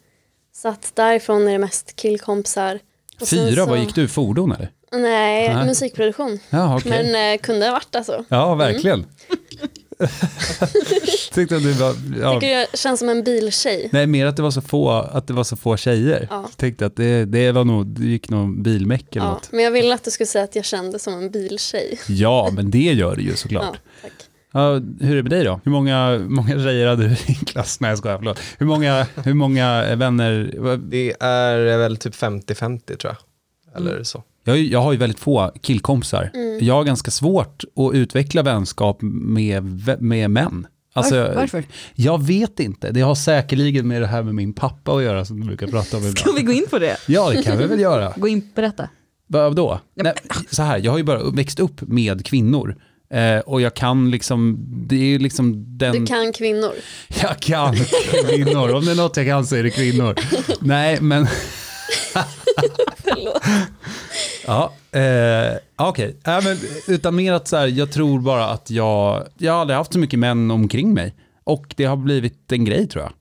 [SPEAKER 3] Så att därifrån är det mest killkompisar. Och sen
[SPEAKER 2] Fyra,
[SPEAKER 3] så-
[SPEAKER 2] vad gick du? Fordon eller?
[SPEAKER 3] Nej,
[SPEAKER 2] Nej.
[SPEAKER 3] musikproduktion.
[SPEAKER 2] Ja, okej.
[SPEAKER 3] Men eh, kunde ha varit alltså.
[SPEAKER 2] Ja, verkligen. Tyckte att du var... Ja.
[SPEAKER 3] Tycker jag känns som en biltjej.
[SPEAKER 2] Nej, mer att det var så få, att det var så få tjejer.
[SPEAKER 3] Ja.
[SPEAKER 2] Tänkte att det, det var nog, det gick någon bilmäck eller
[SPEAKER 3] Ja,
[SPEAKER 2] något.
[SPEAKER 3] men jag ville att du skulle säga att jag kände som en biltjej.
[SPEAKER 2] Ja, men det gör det ju
[SPEAKER 3] Ja,
[SPEAKER 2] såklart.
[SPEAKER 3] tack.
[SPEAKER 2] Ja. hur är det med dig då? Hur många, många tjejer hade du i din klass? Nej, jag skojar, förlåt. Hur många, hur många vänner?
[SPEAKER 4] det är väl typ 50-50 tror jag. Eller
[SPEAKER 3] Mm.
[SPEAKER 4] så.
[SPEAKER 2] Jag, är ju- jag har ju väldigt få killkompisar.
[SPEAKER 1] Mm.
[SPEAKER 2] Jag har ganska svårt att utveckla vänskap med, vä- med män. Alltså,
[SPEAKER 1] Varför- varför?
[SPEAKER 2] Jag vet inte. Det har säkerligen med det här med min pappa att göra som du brukar prata om
[SPEAKER 1] Ska
[SPEAKER 2] ibland.
[SPEAKER 1] vi gå in på det?
[SPEAKER 2] Ja, det kan vi väl göra.
[SPEAKER 1] Gå in, berätta.
[SPEAKER 2] Vadå? Nej, så här, jag har ju bara växt upp med kvinnor. Eh, och jag kan liksom, det är ju liksom den...
[SPEAKER 3] Du kan kvinnor.
[SPEAKER 2] Jag kan kvinnor, om det är något jag kan så är det kvinnor. Nej, men...
[SPEAKER 3] Förlåt.
[SPEAKER 2] Ja, eh, okej. Nej, men Utan mer att så här, jag tror bara att jag, jag har aldrig haft så mycket män omkring mig. Och det har blivit en grej tror jag.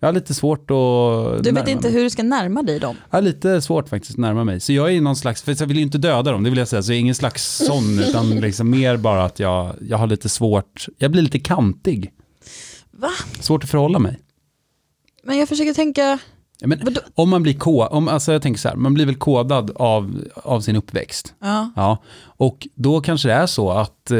[SPEAKER 2] Jag har lite svårt att
[SPEAKER 1] Du vet
[SPEAKER 2] närma
[SPEAKER 1] inte
[SPEAKER 2] mig.
[SPEAKER 1] hur du ska närma dig dem.
[SPEAKER 2] Jag har lite svårt faktiskt att närma mig. Så jag är någon slags, för jag vill ju inte döda dem, det vill jag säga. Så jag är ingen slags sån, utan liksom mer bara att jag, jag har lite svårt, jag blir lite kantig.
[SPEAKER 1] Va?
[SPEAKER 2] Svårt att förhålla mig.
[SPEAKER 1] Men jag försöker tänka,
[SPEAKER 2] Ja, Men,
[SPEAKER 1] Vadå?
[SPEAKER 2] om man blir ko, om, alltså jag tänker så här, man blir väl kodad av, av sin uppväxt.
[SPEAKER 1] ja.
[SPEAKER 2] Ja, och då kanske det är så att eh,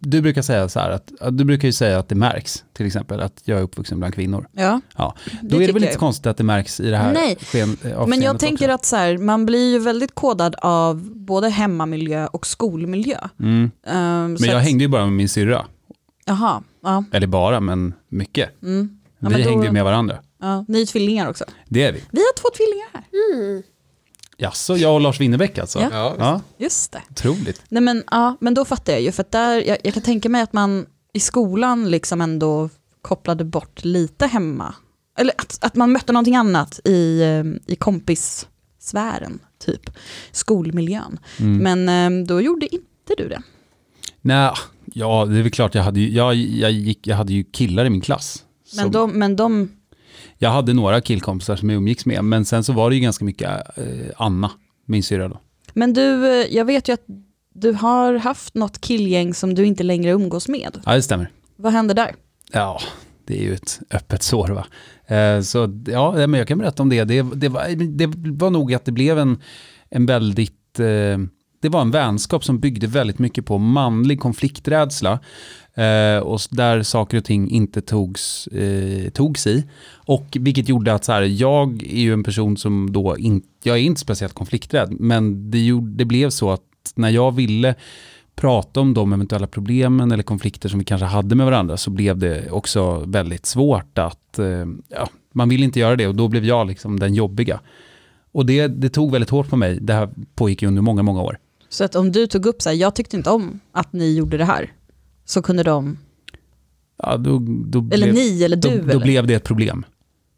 [SPEAKER 2] du brukar säga så här, att, att du brukar ju säga att det märks, till exempel att jag är uppvuxen bland kvinnor.
[SPEAKER 1] ja.
[SPEAKER 2] Ja, då är det
[SPEAKER 1] tycker
[SPEAKER 2] väl
[SPEAKER 1] jag.
[SPEAKER 2] inte konstigt att det märks i det här
[SPEAKER 1] Nej,
[SPEAKER 2] sken, eh,
[SPEAKER 1] Men jag tänker att så här, man blir ju väldigt kodad av både hemmamiljö och skolmiljö.
[SPEAKER 2] Mm.
[SPEAKER 1] Ehm, så
[SPEAKER 2] Men jag
[SPEAKER 1] att-
[SPEAKER 2] hängde ju bara med min syrra,
[SPEAKER 1] Jaha, ja.
[SPEAKER 2] eller bara, men mycket.
[SPEAKER 1] Mm, Ja,
[SPEAKER 2] vi
[SPEAKER 1] men då-
[SPEAKER 2] hängde ju med varandra,
[SPEAKER 1] ja. Ni är tvillingar också.
[SPEAKER 2] det är vi.
[SPEAKER 1] Vi har två tvillingar här.
[SPEAKER 2] Jaså, jag och Lars Winnerbäck alltså?
[SPEAKER 1] Ja.
[SPEAKER 4] Ja,
[SPEAKER 2] ja
[SPEAKER 1] Just det.
[SPEAKER 2] otroligt.
[SPEAKER 1] Nej, men, ja, men då fattar jag ju, för att där, jag, jag kan tänka mig att man i skolan liksom ändå kopplade bort lite hemma. Eller att, att man mötte någonting annat i, eh, i kompissfären, typ. Skolmiljön. Men eh, då gjorde inte du det.
[SPEAKER 2] Nej, ja, det är väl klart, jag hade ju, jag, jag gick, jag hade ju killar i min klass.
[SPEAKER 1] Men
[SPEAKER 2] som-
[SPEAKER 1] de, men de
[SPEAKER 2] Jag hade några killkompisar som jag umgicks med, men sen så var det ju ganska mycket eh, Anna, min syrra då.
[SPEAKER 1] Men du, eh, jag vet ju att du har haft något killgäng som du inte längre umgås med.
[SPEAKER 2] Ja, det stämmer.
[SPEAKER 1] Vad händer där?
[SPEAKER 2] Ja, det är ju ett öppet sår va. Eh, Så ja, ja, men jag kan berätta om det. Det, det, var, eh, det var nog att det blev en, en väldigt, eh, det var en vänskap som byggde väldigt mycket på manlig konflikträdsla. Eh, och s- där saker och ting inte togs, eh, togs i. Och vilket gjorde att så här, jag är ju en person som då inte, jag är inte speciellt konflikträdd, men det, gjorde, det blev så att när jag ville prata om de eventuella problemen eller konflikter som vi kanske hade med varandra så blev det också väldigt svårt att, eh, ja, man ville inte göra det och då blev jag liksom den jobbiga. Och det, det tog väldigt hårt på mig, det här pågick ju under många, många år.
[SPEAKER 1] Så att om du tog upp så här, jag tyckte inte om att ni gjorde det här, så kunde de,
[SPEAKER 2] Ja, då, då
[SPEAKER 1] eller
[SPEAKER 2] blev,
[SPEAKER 1] ni eller du,
[SPEAKER 2] då,
[SPEAKER 1] eller,
[SPEAKER 2] då blev det ett problem.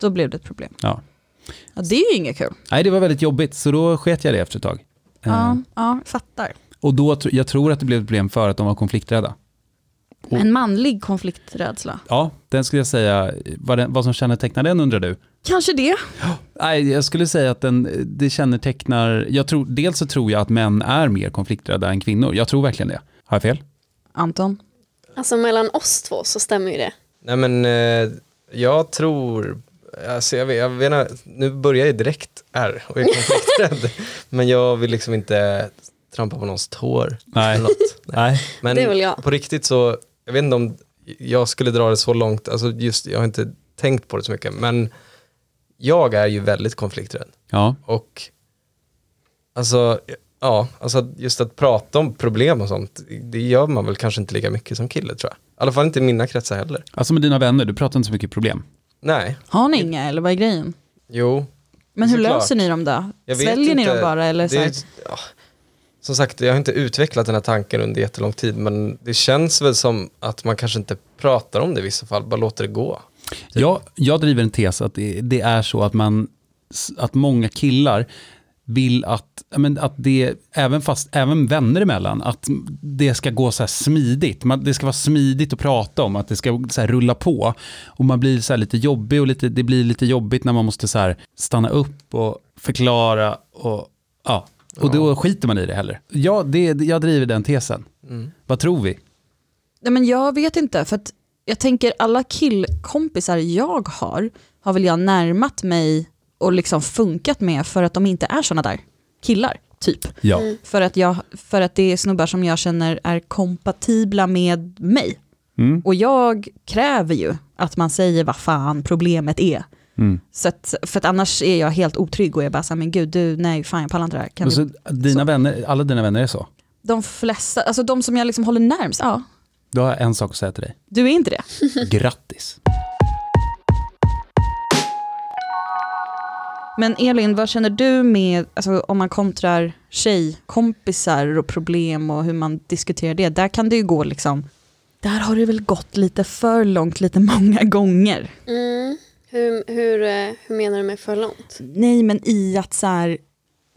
[SPEAKER 1] då blev det ett problem.
[SPEAKER 2] Ja.
[SPEAKER 1] Ja, det är ju inget kul.
[SPEAKER 2] Nej, det var väldigt jobbigt, så då sket jag det efter ett tag. Eh,
[SPEAKER 1] Ja, ja, fattar.
[SPEAKER 2] Och då, tr- jag tror att det blev ett problem för att de var konflikträdda. Och-
[SPEAKER 1] En manlig konflikträdsla.
[SPEAKER 2] Ja, den skulle jag säga, vad, den, vad som kännetecknar den undrar du?
[SPEAKER 1] Kanske det.
[SPEAKER 2] Nej, jag skulle säga att den, det kännetecknar, jag tror, dels så tror jag att män är mer konflikträdda än kvinnor. Jag tror verkligen det. Har jag fel?
[SPEAKER 1] Anton?
[SPEAKER 3] Alltså mellan oss två så stämmer ju det.
[SPEAKER 4] Nej men eh, jag tror, alltså jag vet, jag vet, inte- nu börjar jag direkt här och är konflikträdd. men jag vill liksom inte trampa på någons tår.
[SPEAKER 2] Nej.
[SPEAKER 4] Eller något. Nej. Men
[SPEAKER 3] Det vill jag.
[SPEAKER 4] på riktigt så, jag vet inte om jag skulle dra det så långt, alltså just, jag har inte tänkt på det så mycket, men jag är ju väldigt konflikträdd.
[SPEAKER 2] Ja.
[SPEAKER 4] Och alltså, ja, alltså just att prata om problem och sånt, det gör man väl kanske inte lika mycket som kille tror jag. I alla fall inte i mina kretsar heller.
[SPEAKER 2] Alltså med dina vänner, du pratar inte så mycket problem.
[SPEAKER 4] Nej,
[SPEAKER 1] Har ni inga eller vad är grejen?
[SPEAKER 4] jo,
[SPEAKER 1] Men hur
[SPEAKER 4] Såklart.
[SPEAKER 1] löser ni dem då?
[SPEAKER 4] Jag vet
[SPEAKER 1] Sväljer ni
[SPEAKER 4] inte.
[SPEAKER 1] dem bara eller så
[SPEAKER 4] Det är-
[SPEAKER 1] här?
[SPEAKER 4] ja. Som sagt, jag har inte utvecklat den här tanken under jättelång tid, men det känns väl som att man kanske inte pratar om det i vissa fall, bara låter det gå.
[SPEAKER 2] Jag, jag driver en tes att det, det är så att, man, att många killar vill att, ja, men att det, även, fast, även vänner emellan, att det ska gå så här smidigt. Man, det ska vara smidigt att prata om, att det ska så här rulla på. Och man blir så här lite jobbig och lite, det blir lite jobbigt när man måste så här stanna upp och förklara och ja. Och då skiter man i det heller. Ja, det, jag driver den tesen. Vad tror vi?
[SPEAKER 1] Nej, men jag vet inte, för att jag tänker alla killkompisar jag har, har väl jag närmat mig och liksom funkat med för att de inte är såna där killar, typ.
[SPEAKER 2] Ja.
[SPEAKER 1] För att, jag, för att det är snubbar som jag känner är kompatibla med mig.
[SPEAKER 2] Mm.
[SPEAKER 1] Och jag kräver ju att man säger vad fan problemet är.
[SPEAKER 2] Mm.
[SPEAKER 1] Så att, för att annars är jag helt otrygg och jag bara så här, men gud, du, nej, fan jag pallar inte det här. Kan
[SPEAKER 2] Och så,
[SPEAKER 1] du?
[SPEAKER 2] dina
[SPEAKER 1] så.
[SPEAKER 2] vänner, alla dina vänner är så.
[SPEAKER 1] De flesta, alltså de som jag liksom håller närmst, ja,
[SPEAKER 2] Då har jag en sak att säga till dig.
[SPEAKER 1] du är inte det.
[SPEAKER 2] Grattis.
[SPEAKER 1] Men Elin, vad känner du med, alltså, om man kontrar tjejkompisar och problem och hur man diskuterar det, där kan det ju gå liksom, där har det väl gått lite för långt, lite många gånger.
[SPEAKER 3] Mm. Hur, hur, eh, hur menar du med för långt?
[SPEAKER 1] Nej, men i att så här,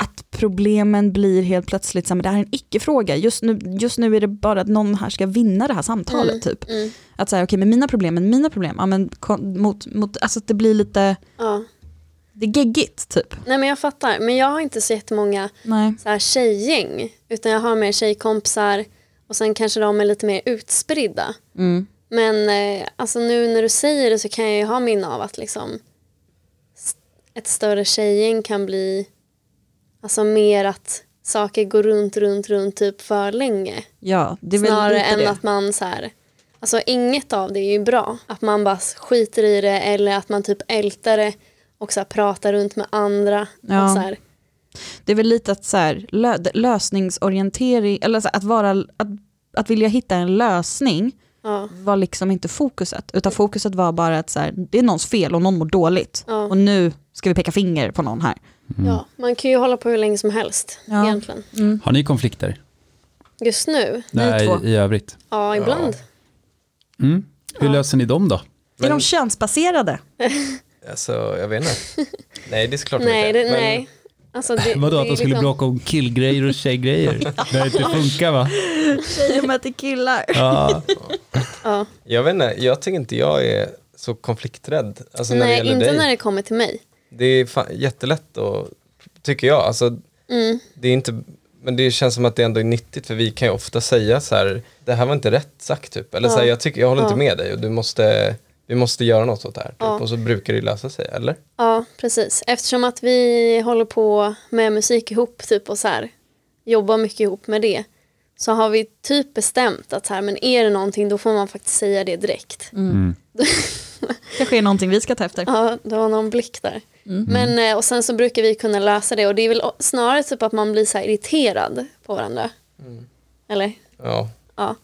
[SPEAKER 1] att problemen blir helt plötsligt, så här, men det här är en icke-fråga, just nu, just nu är det bara att någon här ska vinna det här samtalet typ.
[SPEAKER 3] Mm.
[SPEAKER 1] Att säga, okej, men mina problem, men mina problem, ja men kon- mot, mot, alltså att det blir lite,
[SPEAKER 3] Ja.
[SPEAKER 1] det är geggigt typ.
[SPEAKER 3] Nej men jag fattar, men jag har inte så jättemånga
[SPEAKER 1] Nej.
[SPEAKER 3] så här tjejgäng utan jag har mer tjejkompisar och sen kanske de är lite mer utspridda.
[SPEAKER 1] Mm.
[SPEAKER 3] Men eh, alltså nu när du säger det så kan jag ju ha minne av att liksom s- ett större tjejgäng kan bli alltså mer att saker går runt, runt, runt typ för länge.
[SPEAKER 1] Ja, det är väl
[SPEAKER 3] Snarare
[SPEAKER 1] lite
[SPEAKER 3] än
[SPEAKER 1] det.
[SPEAKER 3] att man så här, alltså inget av det är ju bra. Att man bara skiter i det eller att man typ ältar det och så här pratar runt med andra.
[SPEAKER 1] Ja.
[SPEAKER 3] Och så här,
[SPEAKER 1] Det är väl lite att så här, lö, lösningsorientering, eller så här, att, vara, att, att vilja hitta en lösning
[SPEAKER 3] ja,
[SPEAKER 1] var liksom inte fokuset, utan fokuset var bara att så här, det är någons fel och någon mår dåligt.
[SPEAKER 3] Ja.
[SPEAKER 1] Och nu ska vi peka finger på någon här.
[SPEAKER 3] ja. Man kan ju hålla på hur länge som helst
[SPEAKER 1] Ja.
[SPEAKER 3] egentligen.
[SPEAKER 2] Har ni konflikter?
[SPEAKER 3] Just nu,
[SPEAKER 1] Ni två.
[SPEAKER 2] i övrigt.
[SPEAKER 3] ja ibland.
[SPEAKER 2] Mm. Hur löser ni dem då?
[SPEAKER 1] Är de
[SPEAKER 4] Men-
[SPEAKER 1] könsbaserade?
[SPEAKER 4] Alltså, jag vet inte. nej, det är såklart de
[SPEAKER 3] Nej,
[SPEAKER 4] inte
[SPEAKER 3] det,
[SPEAKER 4] är. Men-
[SPEAKER 3] nej. Alltså, det, det
[SPEAKER 2] Vadå,
[SPEAKER 3] är
[SPEAKER 2] att de skulle
[SPEAKER 3] liksom-
[SPEAKER 2] bråka om killgrejer och tjejgrejer? Det inte funkar va?
[SPEAKER 1] Tjejer möter killar.
[SPEAKER 2] Ja.
[SPEAKER 3] Ja.
[SPEAKER 4] Jag vet inte, jag tycker inte jag är så konflikträdd. Alltså när det
[SPEAKER 3] Nej,
[SPEAKER 4] gäller
[SPEAKER 3] inte
[SPEAKER 4] dig.
[SPEAKER 3] när det kommer till mig.
[SPEAKER 4] Det är fan, jättelätt och tycker jag. Alltså,
[SPEAKER 3] Mm.
[SPEAKER 4] det är inte Men det känns som att det ändå är nyttigt för vi kan ju ofta säga så här, det här var inte rätt sagt typ. Eller så här,
[SPEAKER 3] Ja.
[SPEAKER 4] jag, tycker, jag håller
[SPEAKER 3] Ja.
[SPEAKER 4] inte med dig och du måste, vi måste göra något åt det här. Typ.
[SPEAKER 3] Ja.
[SPEAKER 4] Och så brukar det lösa sig, eller?
[SPEAKER 3] Ja, precis. Eftersom att vi håller på med musik ihop typ och så här, jobbar mycket ihop med det så har vi typ bestämt att så här, men är det någonting då får man faktiskt säga det direkt.
[SPEAKER 2] Mm.
[SPEAKER 1] kanske är någonting vi ska ta efter.
[SPEAKER 3] Ja, det var någon blick där. Men, eh, och sen så brukar vi kunna lösa det och det är väl o- snarare typ att man blir så här irriterad på varandra. Eller?
[SPEAKER 4] Ja.
[SPEAKER 3] Ja.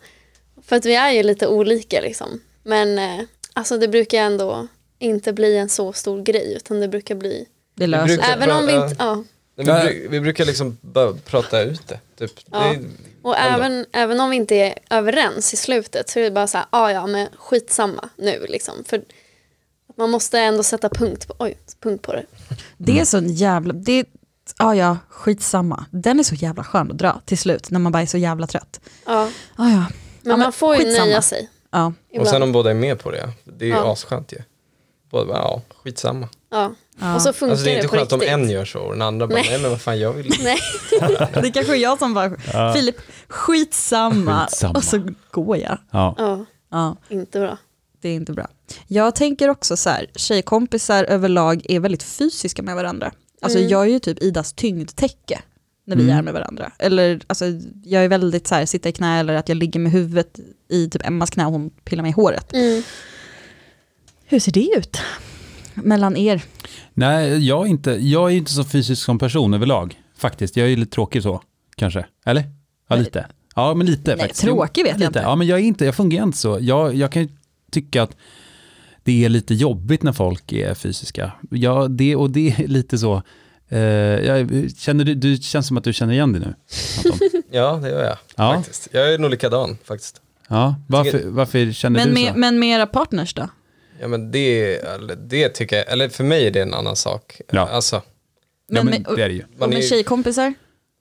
[SPEAKER 3] För att vi är ju lite olika liksom. Men eh, alltså det brukar ändå inte bli en så stor grej utan det brukar bli,
[SPEAKER 1] Det löser
[SPEAKER 4] brukar-
[SPEAKER 3] även om vi
[SPEAKER 4] Ja.
[SPEAKER 3] inte, ja.
[SPEAKER 4] Nej, men
[SPEAKER 2] Nej.
[SPEAKER 4] vi, bru- vi brukar liksom bara prata ut det. Typ.
[SPEAKER 3] Ja.
[SPEAKER 4] det är,
[SPEAKER 3] Och
[SPEAKER 4] Ändå.
[SPEAKER 3] även, även om vi inte är överens i slutet så är det bara så här, ah, ja men skitsamma nu liksom. För att man måste ändå sätta punkt på, oj, punkt på det.
[SPEAKER 1] Det är så en jävla... Det, ah ja, skitsamma. Den är så jävla skön att dra till slut när man bara är så jävla trött.
[SPEAKER 3] Ja.
[SPEAKER 1] Ah ja.
[SPEAKER 3] Men
[SPEAKER 1] Ja, men
[SPEAKER 3] man får ju
[SPEAKER 1] skitsamma.
[SPEAKER 3] nöja sig.
[SPEAKER 1] Ja.
[SPEAKER 4] och
[SPEAKER 3] Ibland.
[SPEAKER 4] sen om båda är med på det, det är ju
[SPEAKER 3] Ja.
[SPEAKER 4] asskönt ju. Båda bara, ja, skitsamma.
[SPEAKER 3] ja.
[SPEAKER 1] Ja.
[SPEAKER 3] Och så funkar
[SPEAKER 4] Alltså det är inte
[SPEAKER 3] på
[SPEAKER 4] skönt om
[SPEAKER 3] riktigt.
[SPEAKER 4] en gör så och den andra bara,
[SPEAKER 3] Nej.
[SPEAKER 4] nej, men vad fan jag vill
[SPEAKER 3] Nej,
[SPEAKER 1] Det kanske är jag som bara, Filip, skitsamma.
[SPEAKER 2] Skitsamma.
[SPEAKER 1] Och så går jag.
[SPEAKER 2] Ja.
[SPEAKER 3] ja,
[SPEAKER 1] Ja,
[SPEAKER 3] inte bra.
[SPEAKER 1] det är inte bra. Jag tänker också så här, tjejkompisar överlag är väldigt fysiska med varandra. Alltså jag är ju typ Idas tyngdtäcke när vi är med varandra. Eller alltså, jag är väldigt så här, sitta i knä eller att jag ligger med huvudet i typ Emmas knä och hon pillar mig i håret.
[SPEAKER 3] Mm.
[SPEAKER 1] Hur ser det ut? Mellan er?
[SPEAKER 2] Nej, jag är, inte, jag är ju inte så fysisk som person överlag. Faktiskt, jag är ju lite tråkig så, kanske. Eller? Ja, lite. Ja, men lite
[SPEAKER 1] Nej,
[SPEAKER 2] faktiskt.
[SPEAKER 1] tråkig vet jag
[SPEAKER 2] lite.
[SPEAKER 1] inte.
[SPEAKER 2] Ja, men jag, är inte, jag fungerar inte så. Jag, jag kan ju tycka att det är lite jobbigt när folk är fysiska. Ja, det, och det är lite så. Eh, jag, känner du, du känns som att du känner igen dig nu. Anton.
[SPEAKER 4] Ja, det gör jag
[SPEAKER 2] Ja.
[SPEAKER 4] faktiskt. Jag är nog likadan faktiskt.
[SPEAKER 2] Ja, varför, varför känner
[SPEAKER 1] Men
[SPEAKER 2] du
[SPEAKER 1] med,
[SPEAKER 2] så?
[SPEAKER 1] men med era partners då?
[SPEAKER 4] Ja, men det, eller, det tycker jag, eller för mig är det en annan sak.
[SPEAKER 2] Ja.
[SPEAKER 4] Alltså,
[SPEAKER 2] Ja, men
[SPEAKER 1] med,
[SPEAKER 2] det är det ju.
[SPEAKER 1] och
[SPEAKER 4] man är
[SPEAKER 1] med
[SPEAKER 4] ju-
[SPEAKER 1] tjejkompisar?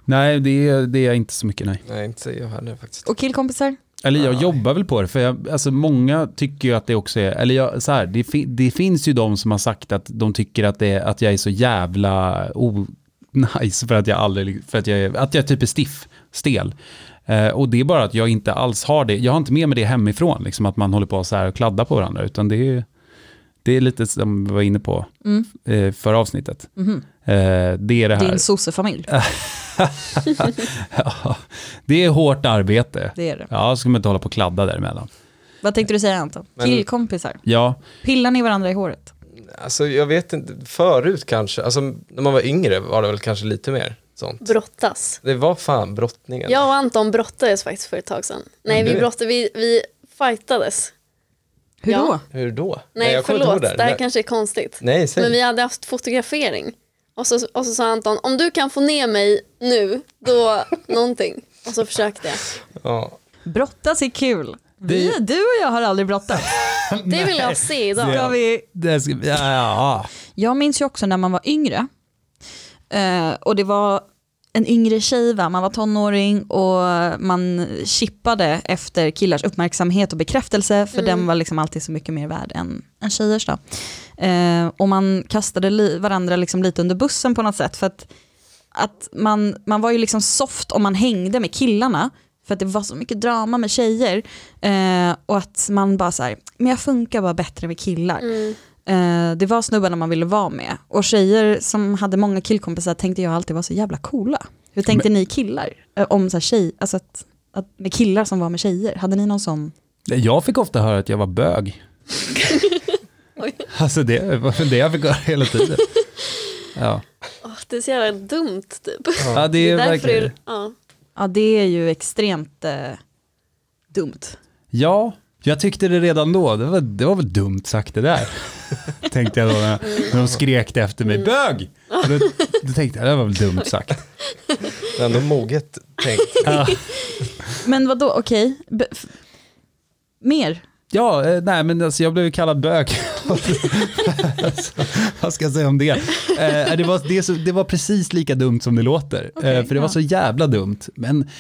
[SPEAKER 2] Nej, det, är- det är jag inte så mycket nej.
[SPEAKER 4] nej, inte jag heller faktiskt.
[SPEAKER 1] Och killkompisar?
[SPEAKER 2] Eller jag
[SPEAKER 4] Nej.
[SPEAKER 2] jobbar väl på det, för jag, alltså många tycker ju att det också är, eller jag, så här, det, fi, det finns ju de som har sagt att de tycker att, det, är- att jag är så jävla o- nice för att jag aldrig, för att jag, är- att jag typ är stiff, stel. Eh, och det är bara att jag inte alls har det, jag har inte med mig det hemifrån, liksom att man håller på så här och kladdar på varandra, utan det är, det är lite som vi var inne på
[SPEAKER 1] Mm.
[SPEAKER 2] eh, förra avsnittet.
[SPEAKER 1] Mhm.
[SPEAKER 2] Eh, det är det här.
[SPEAKER 1] Din sossefamilj?
[SPEAKER 2] Ja, det är hårt arbete.
[SPEAKER 1] Det är det.
[SPEAKER 2] Ja, så ska man inte hålla på och kladda däremellan.
[SPEAKER 1] Vad tänkte du säga Anton?
[SPEAKER 4] Men-
[SPEAKER 1] Killkompisar?
[SPEAKER 2] Ja,
[SPEAKER 1] Pillar ni varandra i håret?
[SPEAKER 4] Alltså, jag vet inte, förut kanske, alltså när man var yngre var det väl kanske lite mer sånt.
[SPEAKER 3] Brottas.
[SPEAKER 4] Det var fan brottningen.
[SPEAKER 3] Jag och Anton brottades faktiskt för ett tag sedan. Nej,
[SPEAKER 4] Mm.
[SPEAKER 3] vi brottades, vi, vi fightades.
[SPEAKER 1] Hur
[SPEAKER 3] Ja.
[SPEAKER 1] då?
[SPEAKER 4] Hur då?
[SPEAKER 3] Nej,
[SPEAKER 4] kommer inte
[SPEAKER 3] förlåt,
[SPEAKER 4] ihåg
[SPEAKER 3] det här
[SPEAKER 4] Nej.
[SPEAKER 3] kanske är konstigt.
[SPEAKER 4] Nej, säg.
[SPEAKER 3] Men vi hade haft fotografering. Och så, och så sa Anton, om du kan få ner mig nu, då någonting. Och så försökte jag.
[SPEAKER 4] Ja.
[SPEAKER 1] Brottas är kul. Vi, du och jag har aldrig brottats.
[SPEAKER 3] Det vill jag se idag.
[SPEAKER 1] Ska vi...
[SPEAKER 2] Det ska, ja, ja.
[SPEAKER 1] Jag minns ju också när man var yngre. Eh, och det var en yngre tjej, va? man var tonåring och man chippade efter killars uppmärksamhet och bekräftelse för den var liksom alltid så mycket mer värd än, än tjejers. Då. Eh, och man kastade li- varandra liksom lite under bussen på något sätt. För att, att man, man var ju liksom soft om man hängde med killarna för att det var så mycket drama med tjejer. Eh, och att man bara så här, men jag funkar bara bättre med killar.
[SPEAKER 3] Mm.
[SPEAKER 1] Eh, det var snubbarna man ville vara med. Och tjejer som hade många killkompisar tänkte jag alltid var så jävla coola. Hur tänkte ni killar? Eh, om så här tjej, alltså att, att, med killar som var med tjejer, hade ni någon sån?
[SPEAKER 2] Jag fick ofta höra att jag var bög.
[SPEAKER 3] Oj.
[SPEAKER 2] alltså det var det jag fick höra hela tiden. Ja,
[SPEAKER 3] Åh, det är så jävla dumt typ.
[SPEAKER 2] ja det är
[SPEAKER 3] därför
[SPEAKER 2] verkligen...
[SPEAKER 3] ja.
[SPEAKER 1] Ja det är ju extremt eh, dumt.
[SPEAKER 2] Ja, jag tyckte det redan då. Det var, det var väl dumt sagt det där. tänkte jag då när, när de skrek efter mig. Bög! Och Då, då tänkte jag, det var väl dumt sagt.
[SPEAKER 4] Det är ändå moget tänkt.
[SPEAKER 1] Men vad då? okej. Be- f- Mer?
[SPEAKER 2] Ja, eh, nej men alltså jag blev ju kallad bög. alltså, vad ska jag säga om det? Eh, det, var, det, är så, det var precis lika dumt som det låter.
[SPEAKER 1] Okej,
[SPEAKER 2] eh, för det var
[SPEAKER 1] ja.
[SPEAKER 2] så jävla dumt. Men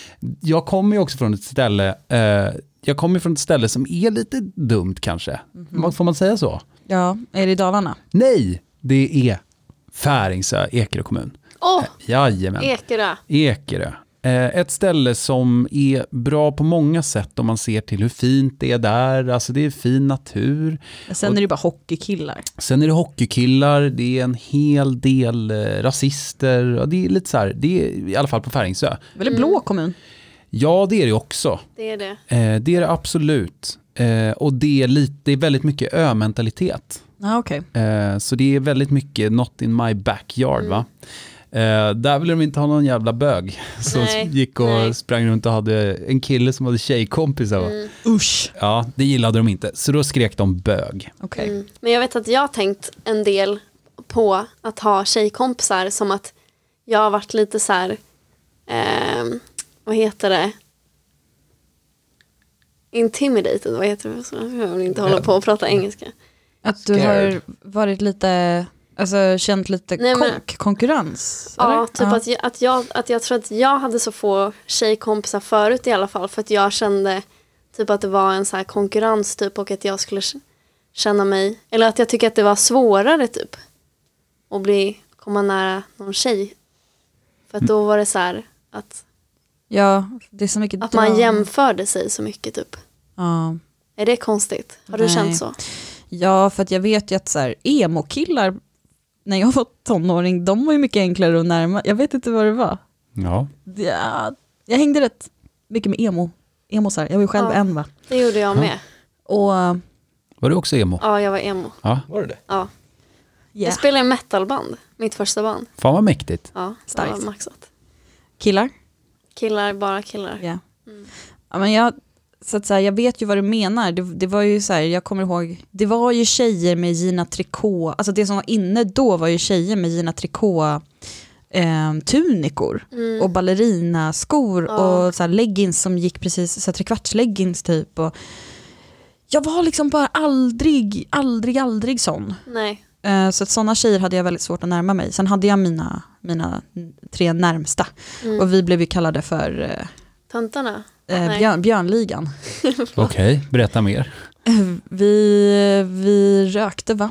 [SPEAKER 2] jag kommer ju också från ett ställe, eh, jag kommer ju från ett ställe som är lite dumt kanske.
[SPEAKER 1] Mhm.
[SPEAKER 2] Vad- Får man säga så?
[SPEAKER 1] Ja, är det i Dalarna?
[SPEAKER 2] Nej, det är Färingsö, Ekerö kommun.
[SPEAKER 3] Åh,
[SPEAKER 2] Jajamän.
[SPEAKER 3] Ekerö.
[SPEAKER 2] Ekerö. Eh, Ett ställe som är bra på många sätt om man ser till hur fint det är där, alltså det är fin natur.
[SPEAKER 1] Sen är det ju bara hockeykillar.
[SPEAKER 2] Sen är det hockeykillar, det är en hel del eh, rasister, ja, det är lite så här, det är i alla fall på Färingsö.
[SPEAKER 1] Väldigt blå kommun.
[SPEAKER 2] Ja, det är det också.
[SPEAKER 3] Det är det.
[SPEAKER 2] Eh, Det är det absolut. Eh, Och det är, lite, det är väldigt mycket ömentalitet.
[SPEAKER 1] Ja, okej.
[SPEAKER 2] Eh, Så det är väldigt mycket not in my backyard
[SPEAKER 3] Mm.
[SPEAKER 2] va. Eh, där ville de inte ha någon jävla bög som
[SPEAKER 3] Nej,
[SPEAKER 2] gick och
[SPEAKER 3] nej. Mm.
[SPEAKER 2] sprang runt och hade en kille som hade tjejkompisar. va?
[SPEAKER 1] Usch.
[SPEAKER 2] Ja, det gillade de inte. Så då skrek de bög.
[SPEAKER 1] Okej.
[SPEAKER 3] Mm. Men jag vet att jag har tänkt en del på att ha tjejkompisar som att jag har varit lite så här, ehm, vad heter det? Intimidated, vad heter det? Så Jag vill inte hålla på och prata engelska.
[SPEAKER 1] Att du
[SPEAKER 4] Scared.
[SPEAKER 1] har varit lite, alltså känt lite
[SPEAKER 3] Nej, men-
[SPEAKER 1] konk, konkurrens? eller?
[SPEAKER 3] Ja, typ Att, jag, att, jag, att jag tror att jag hade så få tjejkompisar förut i alla fall för att jag kände typ att det var en så här konkurrens typ och att jag skulle k- känna mig, eller att jag tycker att det var svårare typ att bli, komma nära någon tjej. För att då var det så här att,
[SPEAKER 1] ja, det är så mycket
[SPEAKER 3] att man
[SPEAKER 1] drama.
[SPEAKER 3] jämförde sig så mycket typ.
[SPEAKER 1] Ja.
[SPEAKER 3] Är det konstigt? Har du
[SPEAKER 1] Nej.
[SPEAKER 3] känt så?
[SPEAKER 1] Ja, för att jag vet ju att så här, emo-killar, när jag var tonåring, de var ju mycket enklare att närma. Jag vet inte vad det var.
[SPEAKER 2] Ja.
[SPEAKER 1] Ja, jag hängde rätt mycket med emo. Emosar, jag var ju själv
[SPEAKER 3] Ja.
[SPEAKER 1] en va.
[SPEAKER 3] Det gjorde jag med.
[SPEAKER 1] Och eh,
[SPEAKER 2] Var du också emo?
[SPEAKER 3] Ja, jag var emo.
[SPEAKER 2] Ja.
[SPEAKER 4] Var det det?
[SPEAKER 3] Ja.
[SPEAKER 1] ja.
[SPEAKER 3] Jag spelade i metalband, mitt första band.
[SPEAKER 2] Fan vad mäktigt.
[SPEAKER 3] Ja,
[SPEAKER 1] Starkt.
[SPEAKER 3] Starkt. det var maxat.
[SPEAKER 1] killar.
[SPEAKER 3] Killar, bara killar.
[SPEAKER 1] Ja.
[SPEAKER 3] Mm.
[SPEAKER 1] Ja, men jag, så att säga, jag vet ju vad du menar. Det, det var ju så här, jag kommer ihåg, det var ju tjejer med Gina Tricot, alltså det som var inne då var ju tjejer med Gina Tricot eh, tunikor
[SPEAKER 3] Mm,
[SPEAKER 1] och ballerinaskor
[SPEAKER 3] Ja.
[SPEAKER 1] och så här leggings som gick precis, så här trekvartsleggings typ. Och jag var liksom bara aldrig, aldrig, aldrig sån.
[SPEAKER 3] Nej.
[SPEAKER 1] Eh, Så att sådana tjejer hade jag väldigt svårt att närma mig. Sen hade jag mina, mina tre närmsta och vi blev ju kallade för eh,
[SPEAKER 3] Töntarna?
[SPEAKER 1] Eh,
[SPEAKER 3] Mm. Ah, Nej.
[SPEAKER 1] björn, björnligan.
[SPEAKER 2] Okej, berätta mer.
[SPEAKER 1] Vi, vi rökte va?